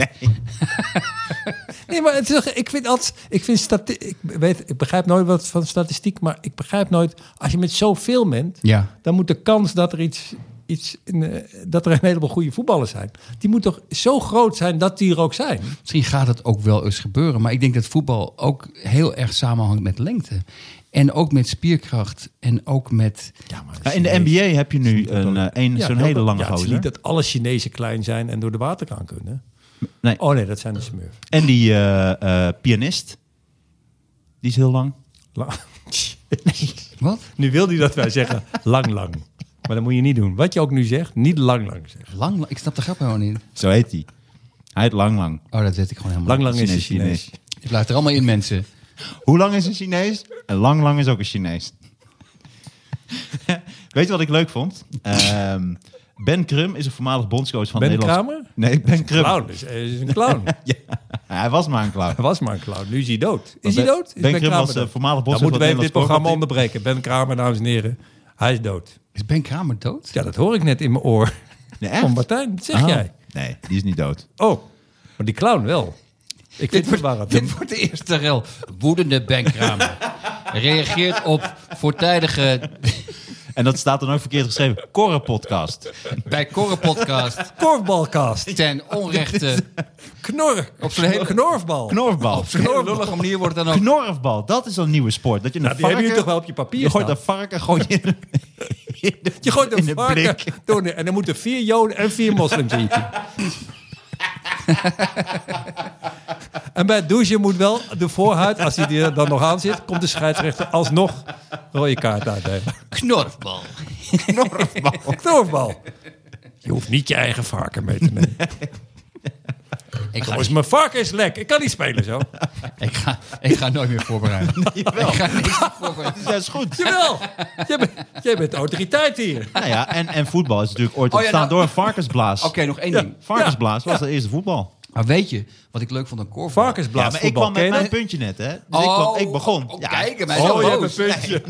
nee, maar het is toch- ik vind altijd... Ik, vind stati- ik, weet, ik begrijp nooit wat van statistiek, maar ik begrijp nooit... Als je met zoveel bent,
Ja.
dan moet de kans dat er iets... iets in, eh, dat er een heleboel goede voetballers zijn. Die moet toch zo groot zijn dat die er ook zijn?
Misschien gaat het ook wel eens gebeuren. Maar ik denk dat voetbal ook heel erg samenhangt met lengte. En ook met spierkracht. En ook met...
Ja, maar
Ja, Nou, in de NBA heb je nu een, eh, een,
Ja,
zo'n
heel
hele
dat-
lange
ja, het is
gozer.
niet dat alle Chinezen klein zijn en door de waterkraan kunnen.
Nee.
Oh nee, dat zijn de smurfen.
En die eh, eh, pianist, die is heel lang.
La-
Wat?
Nu wil hij dat wij zeggen lang lang. Maar dat moet je niet doen. Wat je ook nu zegt, niet lang lang zeggen.
Lang, lang- ik snap de grap helemaal niet.
Zo heet hij. Hij heet Lang Lang.
Oh, dat weet ik gewoon helemaal
Lang lang is een
Chinees, Chinees.
Chinees.
niet. Je blijft er allemaal in, mensen.
Hoe lang is een Chinees? En Lang Lang is ook een Chinees. Weet je wat ik leuk vond? Ehm, ben Krum is een voormalig bondscoach van
Ben
Nederland.
Kramer?
Nee, Ben Krum.
Clown is, is een clown.
Hij was maar een clown.
Hij was maar een clown. Nu is hij dood. Is
Ben-
hij dood? Is
Ben Krim was,
dood?
eh, voormalig
Dan
bondscoach
moeten we
van Nederlands
even dit programma
voetbalteam.
onderbreken. Ben Kramer, dames en heren. Hij is dood.
Is Ben Kramer dood?
Ja, dat hoor ik net in mijn oor.
Nee,
Van
echt?
Martijn, dat zeg
Oh,
jij.
Nee, die is niet dood.
Oh, maar die clown wel. Ik vind het waar.
Dit wordt de eerste rel. Woedende Ben Kramer reageert op voortijdige
En dat staat dan ook verkeerd geschreven. Korre podcast.
bij Corre podcast
Korfbalkast.
ten onrechte
Knor.
Op zo'n hele-
knorfbal.
Knorfbal.
op zo'n hele lullige manier wordt dan ook
Knorfbal. Dat is een nieuwe sport. Dat je een
Nou, die
varken...
hebben jullie toch wel op je papier
je gooit
staan?
een varken gooi je in, in de-
Je gooit
in
een
de
varken
blik.
door de- en dan moeten vier joden en vier moslims eten. en bij het douchen moet wel de voorhuid, als hij er dan nog aan zit, komt de scheidsrechter alsnog rode kaart uitdelen.
knorfbal.
Knorfbal. Je hoeft niet je eigen varken mee te nemen.
Ik ga,
Dus mijn varken is lek. Ik kan niet spelen zo.
ik ga, ik ga nooit meer voorbereiden. Ik ga niks meer voorbereiden.
Ja, is goed.
Jawel. Jij bent, jij bent autoriteit hier.
Nou ja, en, en voetbal is natuurlijk ooit
Oh ja,
ontstaan
nou-
door een varkensblaas.
Oké, nog één ding.
Varkensblaas was de eerste voetbal.
Maar weet je wat ik leuk vond aan korfbal?
Varkensblaas
Ja, maar ik kwam met mijn puntje net, hè. Dus ik, kwam, ik begon.
Oh,
ja,
kijk, hem, hij is
Oh,
al
je hebt
boos.
een puntje.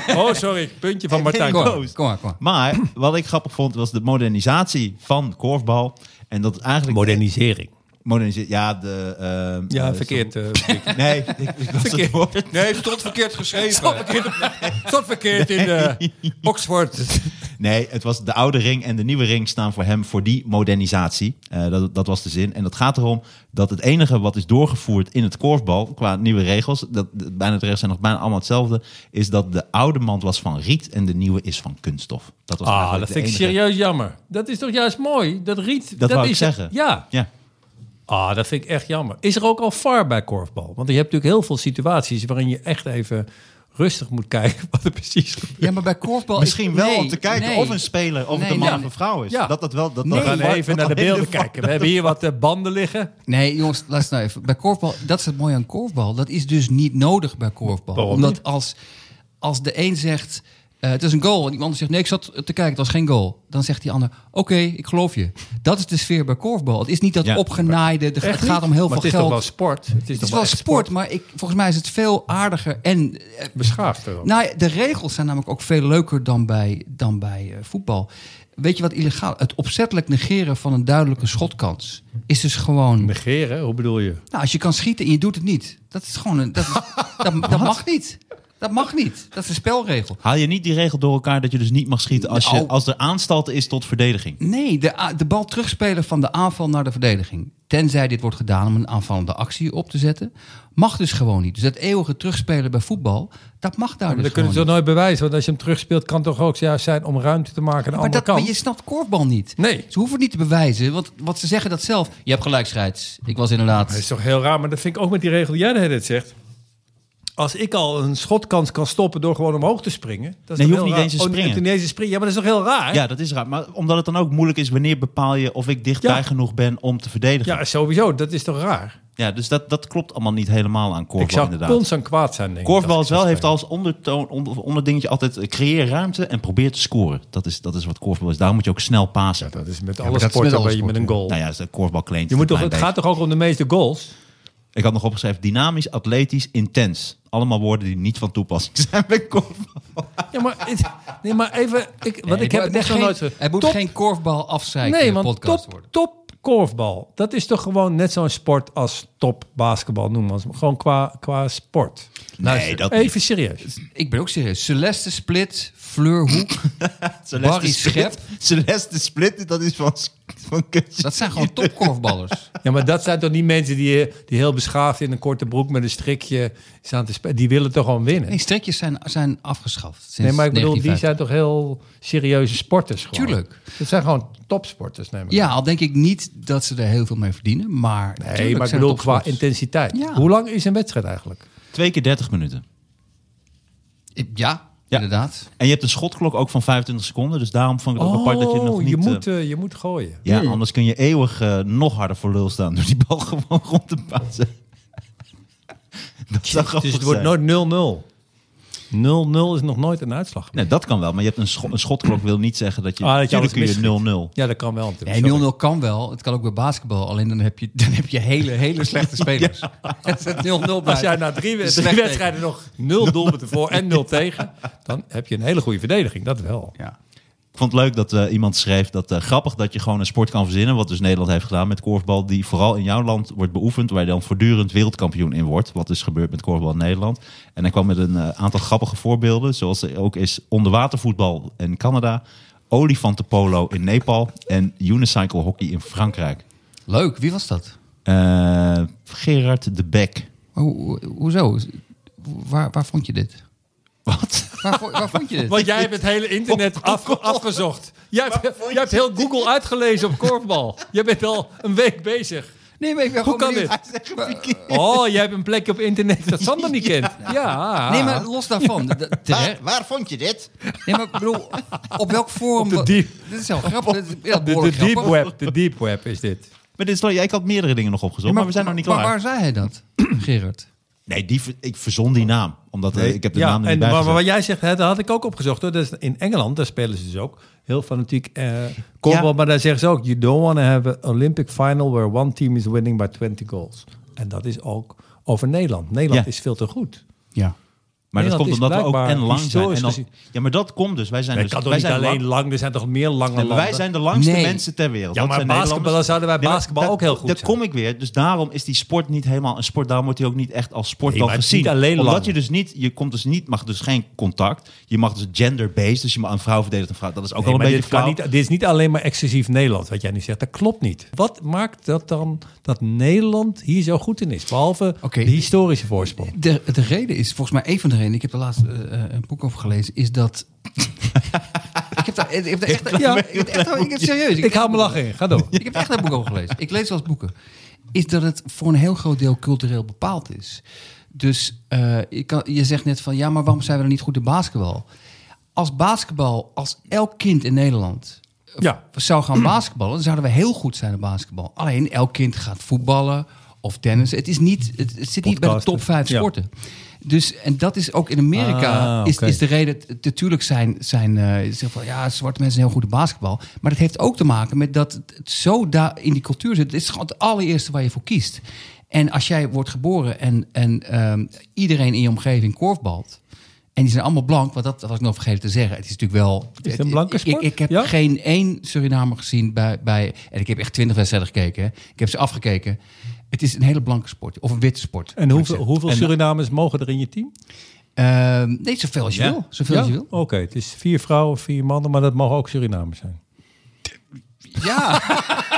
Hij-
Oh, sorry. Puntje van Martijn. Oh.
Kom,
Boos.
maar, kom maar, kom maar.
Maar wat ik grappig vond, was de modernisatie van korfbal. En dat is eigenlijk...
Modernisering.
modernisatie. Ja, de... eh,
Ja,
eh,
verkeerd. eh
Nee, ik, ik las het
Verkeerd.
woord.
Nee, stond verkeerd geschreven.
Stond verkeerd, stond verkeerd in eh, Oxford.
Nee, het was de oude ring en de nieuwe ring staan voor hem voor die modernisatie. Eh, dat, dat was de zin. En dat gaat erom dat het enige wat is doorgevoerd in het korfbal qua nieuwe regels, dat, dat- bijna de regels zijn nog bijna allemaal hetzelfde, is dat de oude mand was van riet en de nieuwe is van kunststof. Dat was
Ah,
eigenlijk
dat
de
vind ik
enige-
serieus jammer. Dat is toch juist mooi? Dat riet.
Dat wou ik
is,
zeggen.
Ja.
Ja.
Ah, dat vind ik echt jammer. Is er ook al VAR bij korfbal? Want je hebt natuurlijk heel veel situaties waarin je echt even rustig moet kijken wat er precies gebeurt.
Ja, maar bij
Oh,
korfbal...
Misschien
is-
wel om
nee,
te kijken
nee.
of een speler, of het
Nee,
een man
nee.
of een vrouw is.
Ja.
Dat dat wel... Dat
We
dat
gaan
dat-
even
dat
naar de
alleen de
beelden
VAR-
kijken. We hebben hier wat eh, banden liggen.
Nee, jongens, luister nou even. Bij korfbal, dat is het mooie aan korfbal. Dat is dus niet nodig bij korfbal.
Waarom
Omdat als, als de een zegt, eh, het is een goal... en iemand zegt, nee, ik zat te kijken, het was geen goal. Dan zegt die ander, oké, ik geloof je. Dat is de sfeer bij korfbal. Het is niet dat
Ja,
opgenaaide, de- het
Echt
gaat
niet?
om
Maar
heel veel
het is toch
geld.
wel sport. Het is
het
toch
is wel
echt
sport, maar ik, volgens mij is het veel aardiger. En eh,
Beschaafd ook.
nou, ja, de regels zijn namelijk ook veel leuker dan bij, dan bij eh, voetbal. Weet je wat illegaal? Het opzettelijk negeren van een duidelijke schotkans is dus gewoon. Nou,
Negeren, hoe bedoel je?
als je kan schieten en je doet het niet, dat is gewoon een. Dat, is- dat, dat mag niet. Dat mag niet. Dat is een spelregel.
Haal je niet die regel door elkaar dat je dus niet mag schieten als, je,
Nou.
als er aanstalten is tot verdediging?
Nee, de, a- de bal terugspelen van de aanval naar de verdediging. Tenzij dit wordt gedaan om een aanvallende actie op te zetten. Mag dus gewoon niet. Dus dat eeuwige terugspelen bij voetbal, dat mag daar
Maar
dus
dat kunnen ze
gewoon
toch nooit bewijzen. Want als je hem terugspeelt, kan het toch ook juist zijn om ruimte te maken aan de
Maar,
andere
dat, maar
kant.
je snapt korfbal niet.
Nee.
Ze hoeven het niet te bewijzen, want wat ze zeggen dat zelf. Je hebt gelijk, scheids. Ik was inderdaad...
Dat is toch heel raar, maar dat vind ik ook met die regel die jij de hele tijd zegt. Als ik al een schotkans kan stoppen door gewoon omhoog te springen.
Nee,
Dat is toch
je
heel
hoeft niet
raar?
eens te
Oh,
springen.
en toen ineens springen. Ja, maar dat is toch heel raar?
Ja, dat is raar. Maar omdat het dan ook moeilijk is, wanneer bepaal je of ik dichtbij
Ja.
genoeg ben om te verdedigen?
Ja, sowieso. Dat is toch raar?
Ja, dus dat, dat klopt allemaal niet helemaal aan
ik
korfbal
zou
inderdaad.
constant kwaad zijn, denk ik.
Korfbal
als
is
ik
wel,
zou
heeft
spelen.
als ondertoon, onder, onderdingetje altijd eh, creëer ruimte en probeer te scoren. Dat is, dat is wat korfbal is. Daarom moet je ook snel pasen.
Ja, dat is met
maar
alle
dat is
sporten
met alle
waar je met een
sporten.
goal...
nou ja, dat is de korfbal kleintje.
je moet toch,
een
het
klein
gaat toch ook om de meeste goals?
beetje. Ik had nog opgeschreven dynamisch, atletisch, intens. Allemaal woorden die niet van toepassing zijn bij korfbal.
Ja, maar, het- nee, maar even... Ik, want ik heb het
het moet
echt nog
geen,
nooit... ge-
Het moet
Top-
geen korfbal afzeiken
Nee, want
podcast
top,
worden.
top korfbal. Dat is toch gewoon net zo'n sport als top basketbal noemen. we het. Gewoon qua, qua sport.
Nee, dat niet.
Even serieus.
Ik ben ook serieus. Celeste Split, Fleur Hoek,
Celeste
Barry
Split- Celeste Split, dat is van, van kunst.
dat zijn gewoon topkorfballers.
Ja, maar dat zijn toch die mensen die, eh, die heel beschaafd in een korte broek met een strikje staan te spelen. Die willen toch gewoon winnen?
Nee, strikjes zijn, zijn afgeschaft sinds
nee, maar ik bedoel, die
1950.
zijn toch heel serieuze sporters gewoon?
Tuurlijk.
Dat zijn gewoon topsporters, neem ik aan.
Ja, al denk ik niet dat ze er heel veel mee verdienen, maar...
Nee,
tuurlijk
maar ik
zijn
bedoel
het
qua
topsports.
intensiteit.
Ja.
Hoe lang is een wedstrijd eigenlijk?
Twee keer 30 minuten.
Ja, inderdaad.
En je hebt een schotklok ook van 25 seconden. Dus daarom vond ik het ook apart dat je nog niet...
je,
eh,
moet, eh, je moet gooien.
ja, anders kun je eeuwig eh, nog harder voor lul staan door die bal gewoon rond te passen. dat zou grappig
Dus het wordt
zijn.
nooit 0-0. 0-0 is nog nooit een uitslag.
Nee, dat kan wel. Maar je hebt een, scho- een schotklok wil niet zeggen dat je...
Ah, dat je
Tuurlijk
alles
kun je 0-0.
Ja, dat kan wel. natuurlijk.
Nee, 0-0 kan wel. Het kan ook bij basketbal. Alleen dan heb je, dan heb je hele, hele slechte spelers. Als het 0-0
Als
blijft.
jij na drie,
Slecht
wed- drie
teken.
wedstrijden nog 0 doelpunten voor en 0 tegen, dan heb je een hele goede verdediging. Dat wel.
Ja.
Ik vond het leuk dat eh, iemand schreef dat eh, grappig dat je gewoon een sport kan verzinnen. Wat dus Nederland heeft gedaan met korfbal. Die vooral in jouw land wordt beoefend. Waar je dan voortdurend wereldkampioen in wordt. Wat is gebeurd met korfbal in Nederland. En hij kwam met een eh, aantal grappige voorbeelden. Zoals er ook is onderwatervoetbal in Canada. Olifantenpolo in Nepal. En unicycle hockey in Frankrijk.
Leuk, wie was dat?
Eh, Gerard de Bek.
Ho- hoezo? Waar, waar vond je dit?
Wat?
Waar, vo- waar vond je dit?
Want jij hebt het hele internet afge- afgezocht. Jij hebt, jij hebt heel Google uitgelezen op korfbal. Jij bent al een week bezig.
Nee, maar ik ben
Hoe
gewoon
kan
benieuwd.
dit? Oh, jij hebt een plekje op internet dat Sander niet kent. Ja.
Nee, maar los daarvan. d- d- terecht.
Waar, waar vond je dit?
Ah. Nee, maar ik bedoel, op welk forum...
de
wa-
diep-
Dit is heel grappig. Dit is heel
de, de
behoorlijk
deep
grappig.
web, de deep web is dit.
Maar dit is, leuk. Ja, ik had meerdere dingen nog opgezocht.
Ja,
maar, we zijn nog niet klaar.
Maar waar zei hij dat, Gerard?
Nee, die, ver- ik verzon die naam. Omdat eh, ik heb de naam er
en
niet bij
maar, maar
gezet.
wat jij zegt, hè, dat had ik ook opgezocht. Hoor. Dus in Engeland, daar spelen ze dus ook heel fanatiek eh korfbal.
Ja.
Maar daar zeggen ze ook, you don't want to have an Olympic final where one team is winning by 20 goals. En dat is ook over Nederland. Nederland
Ja.
is veel te goed.
Ja.
Maar dat
Nederland
komt
is
omdat we ook
blijkbaar
en lang zijn.
historisch
En dan-
gezien-
ja, maar dat komt dus. Wij zijn,
Dat
dus,
kan toch
wij
niet
zijn
alleen
lang-
lang, er zijn toch meer lange
Nee, maar
landen?
wij zijn de langste
Nee.
mensen ter wereld.
Ja,
Dat
maar
zijn Nederlanders.
basketballers zouden wij
maar
basketbal
daar-
ook heel goed
Daar
zijn.
kom ik weer. Dus daarom is die sport niet helemaal een sport. Daarom wordt hij ook niet echt als sport
Nee,
wel
maar het is
gezien.
niet alleen
Omdat
lang.
je dus niet, je komt dus niet, mag dus geen contact. Je mag dus gender-based, dus je mag een vrouw verdedigen een vrouw. Dat is ook
Nee,
wel
maar
een beetje
dit, kan
flauw.
niet, dit is niet alleen maar exclusief Nederland, wat jij nu zegt. Dat klopt niet. Wat maakt dat dan dat Nederland hier zo goed in is? Behalve
Oké.
de historische voorsprong.
De, de reden is, volgens mij een van de redenen... Ik heb er laatst eh, eh, een boek over gelezen, is dat... ik heb daar ik heb daar echt... Ja, ik heb echt... Ik heb serieus.
Ik hou mijn lach in. Ga door.
Ik heb echt een boek over gelezen. Ik lees wel eens boeken. Is dat het voor een heel groot deel cultureel bepaald is. Dus eh, je, kan, je zegt net van ja, maar waarom zijn we dan niet goed in basketbal? Als basketbal, als elk kind in Nederland eh,
Ja.
zou gaan basketballen, dan zouden we heel goed zijn in basketbal. Alleen elk kind gaat voetballen of tennis. Het, is niet, het, het zit niet bij de
Podcasten.
top 5
Ja.
sporten. Dus, en dat is ook in Amerika
Ah,
is,
oké.
is de reden. t- Natuurlijk zijn, zijn eh, je zegt van ja, zwarte mensen zijn heel goed in basketbal. Maar dat heeft ook te maken met dat het- het zo daar in die cultuur zit. Het is gewoon het allereerste waar je voor kiest. En als jij wordt geboren en, en ehm, iedereen in je omgeving korfbalt. En die zijn allemaal blank, want dat was ik nog vergeten te zeggen. Het is natuurlijk wel.
het een blanke
ik-
sport?
Ik, ik heb
Ja?
geen één Surinamer gezien bij, bij. En ik heb echt twintig wedstrijden gekeken. hè. Ik heb ze afgekeken. Het is een hele blanke sport. Of een witte sport.
En hoeveel, hoeveel
En-
Surinamers mogen er in je team?
Ehm, nee, zoveel als je
Ja?
wil. Zoveel als je wil.
Oké, het is vier vrouwen, vier mannen, maar dat mogen ook Surinamers zijn.
Ja.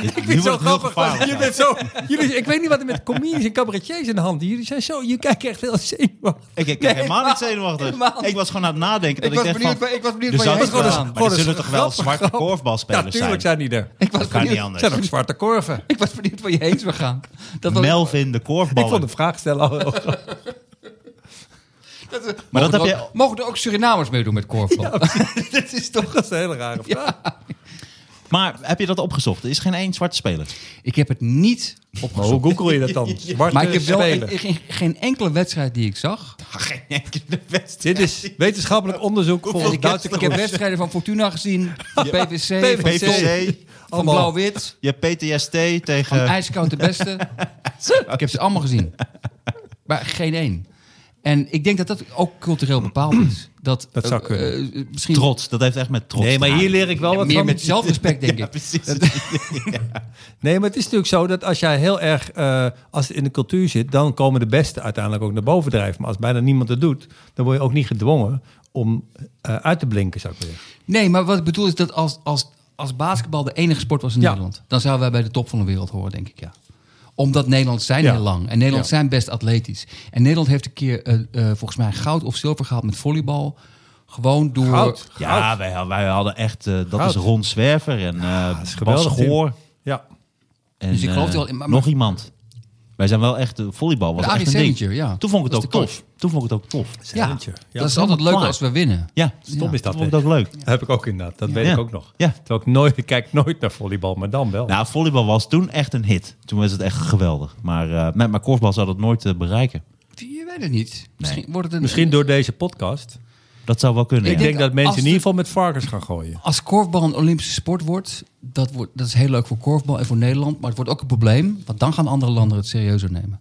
nu wordt het heel gevaarlijk.
Jullie bent zo, jullie, ik weet niet wat er met comedians en cabaretiers in de hand is. Jullie zijn zo, je kijkt echt heel zenuwachtig.
Ik kijk helemaal niet zenuwachtig. Ik was gewoon aan het nadenken. Dat ik,
was
dacht
benieuwd
van,
waar- ik was benieuwd
er
waar jij
zou-
heen was.
Maar er zullen toch wel
Grappig,
zwarte
grappig.
korfbalspelers
Natuurlijk
zijn.
zijn die er.
Ik was
Dat kan niet
benieuwd-
anders.
zijn ook zwarte korven.
Ik was benieuwd waar je heen zou gaan. Dat was,
Melvin de
Ik vond
korfballer.
de vraag stellen al heel
Maar dat
mogen,
heb
er
je...
ook, mogen er ook Surinamers meedoen met korfbal?
Dit is toch een hele rare vraag.
Maar heb je dat opgezocht? Er is geen één zwarte speler.
Ik heb het niet opgezocht.
Hoe google je dat dan? Zwarte
maar ik heb wel
speler.
ik- ik- geen, geen enkele wedstrijd die ik zag.
Ah,
Geen enkele wedstrijd.
Dit is wetenschappelijk onderzoek volgens
Ik heb,
Duitse
ik heb
koers.
wedstrijden van Fortuna gezien, van PVC, van,
PVC,
C,
PVC,
van
allemaal.
Blauw-Wit,
je hebt PTST
van
tegen...
IJskoud de Beste. ik heb ze allemaal gezien. Maar geen één. En ik denk dat dat ook cultureel bepaald is. Dat,
Dat zou
eh,
kunnen.
eh, misschien
Trots, dat heeft echt met trots
Nee, maar
te maken.
hier leer ik wel wat
meer
van.
met zelfrespect, denk
Ja,
ik.
precies.
Nee, maar het is natuurlijk zo dat als jij heel erg, eh, als het in de cultuur zit, dan komen de beste uiteindelijk ook naar boven drijven. Maar als bijna niemand het doet, dan word je ook niet gedwongen om eh, uit te blinken, zou ik maar zeggen.
Nee, maar wat ik bedoel is dat als, als, als basketbal de enige sport was in
Ja.
Nederland, dan zouden wij bij de top van de wereld horen, denk ik ja. Omdat Nederland zijn
Ja.
heel lang en Nederland
Ja.
zijn best atletisch. En Nederland heeft een keer eh, eh, volgens mij goud of zilver gehaald met volleybal. Gewoon door.
Goud.
Ja, wij, wij hadden echt... eh, dat
Goud.
is Ron Zwerver en eh
is
Bas
geweldig,
Goor.
Ja.
En,
Dus ik geloof
eh,
het wel in, maar-
nog iemand. Wij zijn wel echt, eh, volleybal was
Ja,
echt
die
een ding.
zennetje, ja.
Toen vond ik het
Dat
ook
is de
tof. Toen vond ik het ook tof.
Ja,
Ja, dat
dat is
helemaal
altijd leuk
klaar.
als we winnen.
Ja,
Stom is dat.
vond ik
hè?
dat leuk.
Heb ik ook inderdaad. Dat weet
Ja.
ik ook nog.
Ja.
Terwijl ik nooit, ik kijk nooit naar volleybal, maar dan wel.
Nou, volleybal was toen echt een hit. Toen was het echt geweldig. Maar eh met mijn korfbal zou dat nooit eh, bereiken.
Je weet het niet. Misschien wordt het een...
Misschien door deze podcast.
Dat zou wel kunnen.
Ik
Ik
ja.
denk dat mensen
als
in
de-
ieder geval met varkens gaan gooien.
Als korfbal een Olympische sport wordt dat, wordt, dat is heel leuk voor korfbal en voor Nederland. Maar het wordt ook een probleem, want dan gaan andere landen het serieuzer nemen.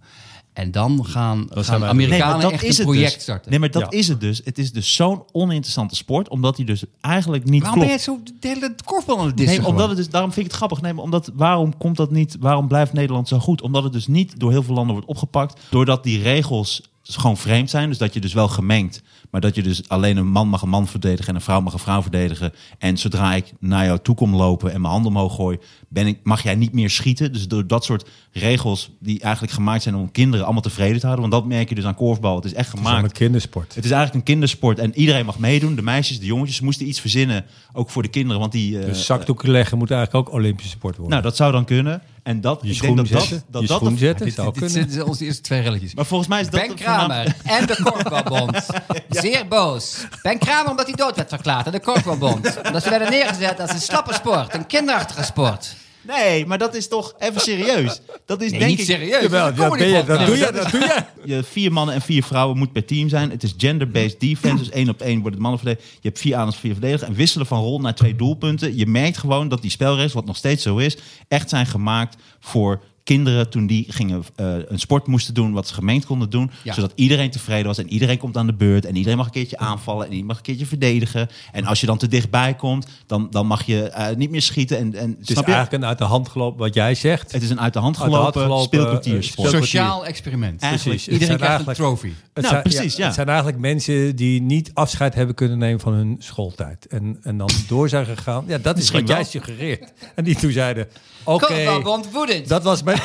En dan gaan, gaan
wij-
Nee, maar
Amerikanen
dat is
echt een
het
project
dus.
starten.
Nee, maar dat
Ja.
is het dus. Het is dus zo'n oninteressante sport, omdat die dus eigenlijk niet
Waarom ben
klopt.
je zo de hele korfbal aan het dissen?
Nee,
gewoon?
omdat het dus, daarom vind ik het grappig. Nee, maar omdat, waarom komt dat niet? Waarom blijft Nederland zo goed? Omdat het dus niet door heel veel landen wordt opgepakt. Doordat die regels gewoon vreemd zijn. Dus dat je dus wel gemengd. Maar dat je dus alleen een man mag een man verdedigen en een vrouw mag een vrouw verdedigen. En zodra ik naar jou toe kom lopen en mijn handen omhoog gooi, ben ik, mag jij niet meer schieten. Dus door dat soort regels die eigenlijk gemaakt zijn om kinderen allemaal tevreden te houden. Want dat merk je dus aan korfbal. Het is echt
Maar
gemaakt
een kindersport.
het is eigenlijk een kindersport en iedereen mag meedoen. De meisjes, de jongetjes ze moesten iets verzinnen. Ook voor de kinderen, want die... eh,
Dus zakdoeken leggen moet eigenlijk ook Olympische sport worden.
nou, dat zou dan kunnen. En dat,
je
ik
schoen
denk dat
zetten.
dat... dat,
je
dat
schoen
de-
zetten.
dit,
zou
dit, dit,
kunnen.
zijn onze eerste twee relletjes.
Maar volgens mij is dat...
Ben
de voornaam-
Kramer en de Korfbalbond. Zeer boos. Ben Kramer omdat hij dood werd verklaard en de Korfbalbond. Omdat ze werden neergezet als een slappe sport, een kinderachtige sport.
Nee, maar dat is toch even serieus. Dat is
Nee,
denk
niet
ik...
serieus.
Jawel,
Dat is een
dat, ben je, dat
comedypodcast.
doe je, dat doe je.
Je vier mannen en vier vrouwen moet per team zijn. Het is gender-based defense. Dus één op één wordt het mannen verdedigd. Je hebt vier aanvallers, vier verdedigers. En wisselen van rol naar twee doelpunten. Je merkt gewoon dat die spelregels, wat nog steeds zo is, echt zijn gemaakt voor kinderen toen die gingen eh, een sport moesten doen wat ze gemeend konden doen,
Ja.
zodat iedereen tevreden was en iedereen komt aan de beurt en iedereen mag een keertje aanvallen en iedereen mag een keertje verdedigen en als je dan te dichtbij komt, dan, dan mag je eh, niet meer schieten en, en
Het is
snap je?
eigenlijk een uit de hand gelopen wat jij zegt.
Het is een uit de hand
Uit de hand
gelopen,
gelopen,
speelkwartiersport.
eh,
Sociaal experiment.
Eigenlijk,
Precies. Het
Iedereen
zijn
krijgt een
eigenlijk-
trofee.
Het
Nou, precies, ja.
Het zijn eigenlijk mensen die niet afscheid hebben kunnen nemen van hun schooltijd. En, en dan door zijn gegaan. Ja, dat is
Misschien
wat jij
wel.
suggereert. En die toen zeiden, oké,
Korfbalbond woedend.
dat was mijn...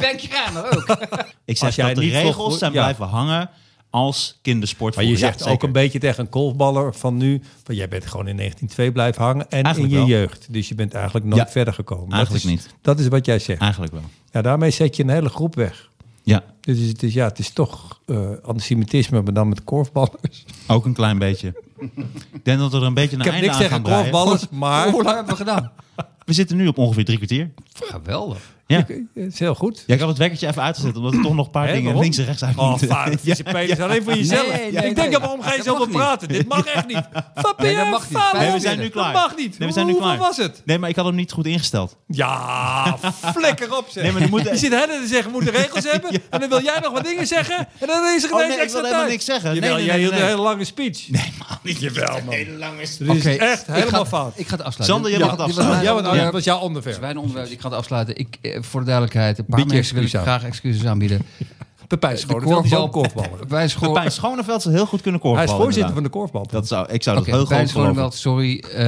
Ben Kramer ook.
Ik zeg
Als jij
dat de
niet
regels
volgt-
zijn
ja.
blijven hangen als kindersport.
Maar je
vroeger.
zegt
Ja,
ook
zeker.
een beetje tegen een golfballer van nu... van jij bent gewoon in 1902 blijven hangen en
Eigenlijk
in je
wel.
jeugd. Dus je bent eigenlijk nooit
Ja.
verder gekomen.
Eigenlijk
dat is,
niet.
Dat is wat jij zegt.
Eigenlijk wel.
Ja, daarmee zet je een hele groep weg.
Ja,
Dus het is, ja, het is toch eh, antisemitisme, maar dan met korfballers.
ook een klein beetje. Ik denk dat we er een beetje naar
Ik heb
einde aan
niks
gaan
tegen
breien.
korfballers, maar...
Hoe lang hebben we gedaan?
We zitten nu op ongeveer drie kwartier.
Geweldig.
Ja.
Oké, Het eh, is heel goed.
Ja, ik had het wekkertje even uitgezet, omdat er toch nog een paar
Hè,
dingen
waarom?
links en rechts uit
Oh,
moeten.
vader, vieze penis. Alleen voor jezelf.
Nee, nee,
ik denk
nee.
dat we om geen
Dat
zoveel
mag niet.
praten. Dit mag echt niet. Wat ben
Nee, dat
jij
mag
een
niet.
vader?
Nee, we zijn nu
Dat
klaar.
Dat mag niet.
Nee, we zijn nu
Hoeveel
klaar.
was het?
Nee, maar ik had hem niet goed ingesteld.
Ja, flikker op zeg.
Nee, maar er moeten-
Je zit hen te zeggen, we moeten regels hebben. En dan wil jij nog wat dingen zeggen. En dan is er
Oh,
ineens
nee, ik
extra
wil helemaal
tijd.
niks zeggen.
Jawel,
Nee, nee,
jij
nee,
hield
nee.
een hele lange speech. Nee, man. Oh, Niet jawel, man. Hele lange speech. Dit is
Oké,
echt
Dus ik
helemaal
ga,
fout.
Ik ga het afsluiten.
Sander, jij mag het
dit was
afsluiten.
mijn
Ja, want dat
onderwerp.
was jouw
Dat
onderwerp.
is mijn onderwerp. Ik ga het afsluiten. Ik, eh, voor de duidelijkheid, een paar
Bied je
mensen wil ik
excuses aan.
graag excuses aanbieden.
Pepijn Schoneveld is ook een korfballer.
Bij school,
Pijn Schoneveld zou heel goed kunnen
Hij
korfballen.
is voorzitter van
inderdaad.
de korfbal.
Dat zou, ik zou dat
Oké,
heel
Pijn
goed geloven.
Schoneveld, sorry. Eh,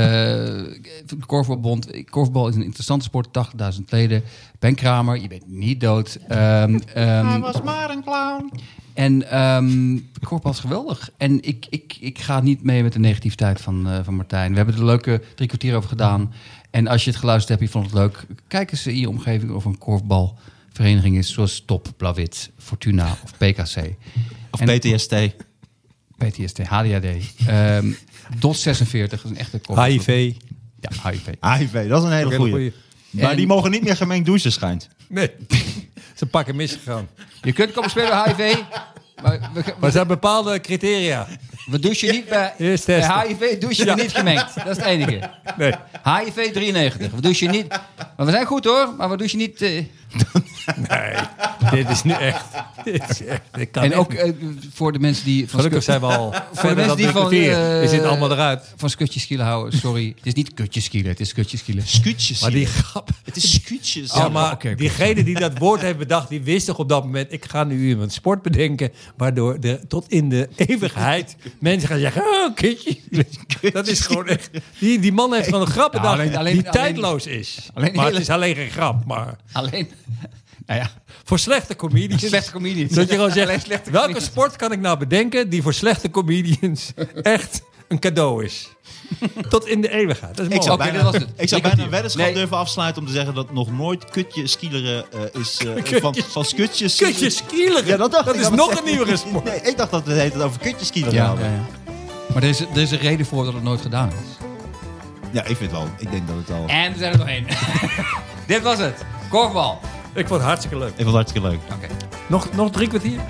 de korfbalbond. Korfbal is een interessante sport. 80.000 leden. Ben Kramer, je bent niet dood. Ehm, ehm,
was maar een clown.
en ehm korfbal is geweldig. En ik, ik, ik ga niet mee met de negativiteit van, eh, van Martijn. We hebben er leuke drie kwartier over gedaan. En als je het geluisterd hebt, je vond het leuk. Kijk eens in je omgeving of er een korfbalvereniging is. Zoals Top, Blauw-Wit, Fortuna of PKC.
Of
En-
PTSD.
PTSD, HDHD. Ehm DOS 46, dat is een echte korfbal.
HIV.
Ja, HIV.
HIV, dat is een hele
Ook een
goeie. Maar
En-
die mogen niet meer gemengd douchen, schijnt.
Nee, ze pakken misgegaan.
Je kunt komen spelen bij HIV. Maar we,
Maar
we,
er zijn bepaalde criteria.
we douchen niet bij,
Eerst
bij
testen.
HIV douchen we niet gemengd. Dat is het enige.
Nee.
HIV 93. We douchen niet. Maar we zijn goed hoor, maar we douchen niet. eh,
Nee, dit is nu echt. Dit is echt dit kan
en
echt
ook
niet.
eh, voor de mensen die van,
Gelukkig
skut-
zijn we al verder
mensen
dan
die
drie
van,
kwartier.
eh,
is dit allemaal eruit.
van skutjeskielen houden. Sorry, het is niet kutjeskielen, het is skutjeskielen.
Scootjes.
Maar die grap.
Het is scootjes.
Oh, maar
oké, oké.
diegene die dat woord heeft bedacht, die wist toch op dat moment... ik ga nu iemand sport bedenken, waardoor de, tot in de eeuwigheid mensen gaan zeggen... oh, kutje. Dat is gewoon echt... Die, die man heeft gewoon een grap
Nou,
bedacht
alleen- alleen-
die
alleen-
tijdloos is.
alleen
maar het
hele-
is alleen geen grap, maar...
Alleen. Nou ja,
Voor slechte comedians.
slechte comedians.
Dat je gewoon
Alleen
zegt,
slechte
welke
comedians.
sport kan ik nou bedenken die voor slechte comedians echt een cadeau is. Tot in de eeuwigheid. Dat is mooi.
zou- Oké,
bijna,
dat was het.
Ik zou
Ik had
bijna
hier.
een weddenschap
Nee.
durven afsluiten om te zeggen dat nog nooit kutje skileren eh, is... eh,
Kutje
van, van skutjes...
Kutje skileren.
Ja, dat dacht ik.
is
Ja,
nog
maar-
een nieuwere sport.
Nee, ik dacht dat we het heet over kutjes skileren
Ja,
hadden.
ja, ja. Maar er is, er is een reden voor dat het nooit gedaan is.
Ja, ik vind wel. Ik denk dat het al...
En er zijn er nog één. Dit was het. Korfbal. Oké.
Ik vond het hartstikke leuk.
Ik vond het hartstikke leuk.
Nog, nog drie kwartier?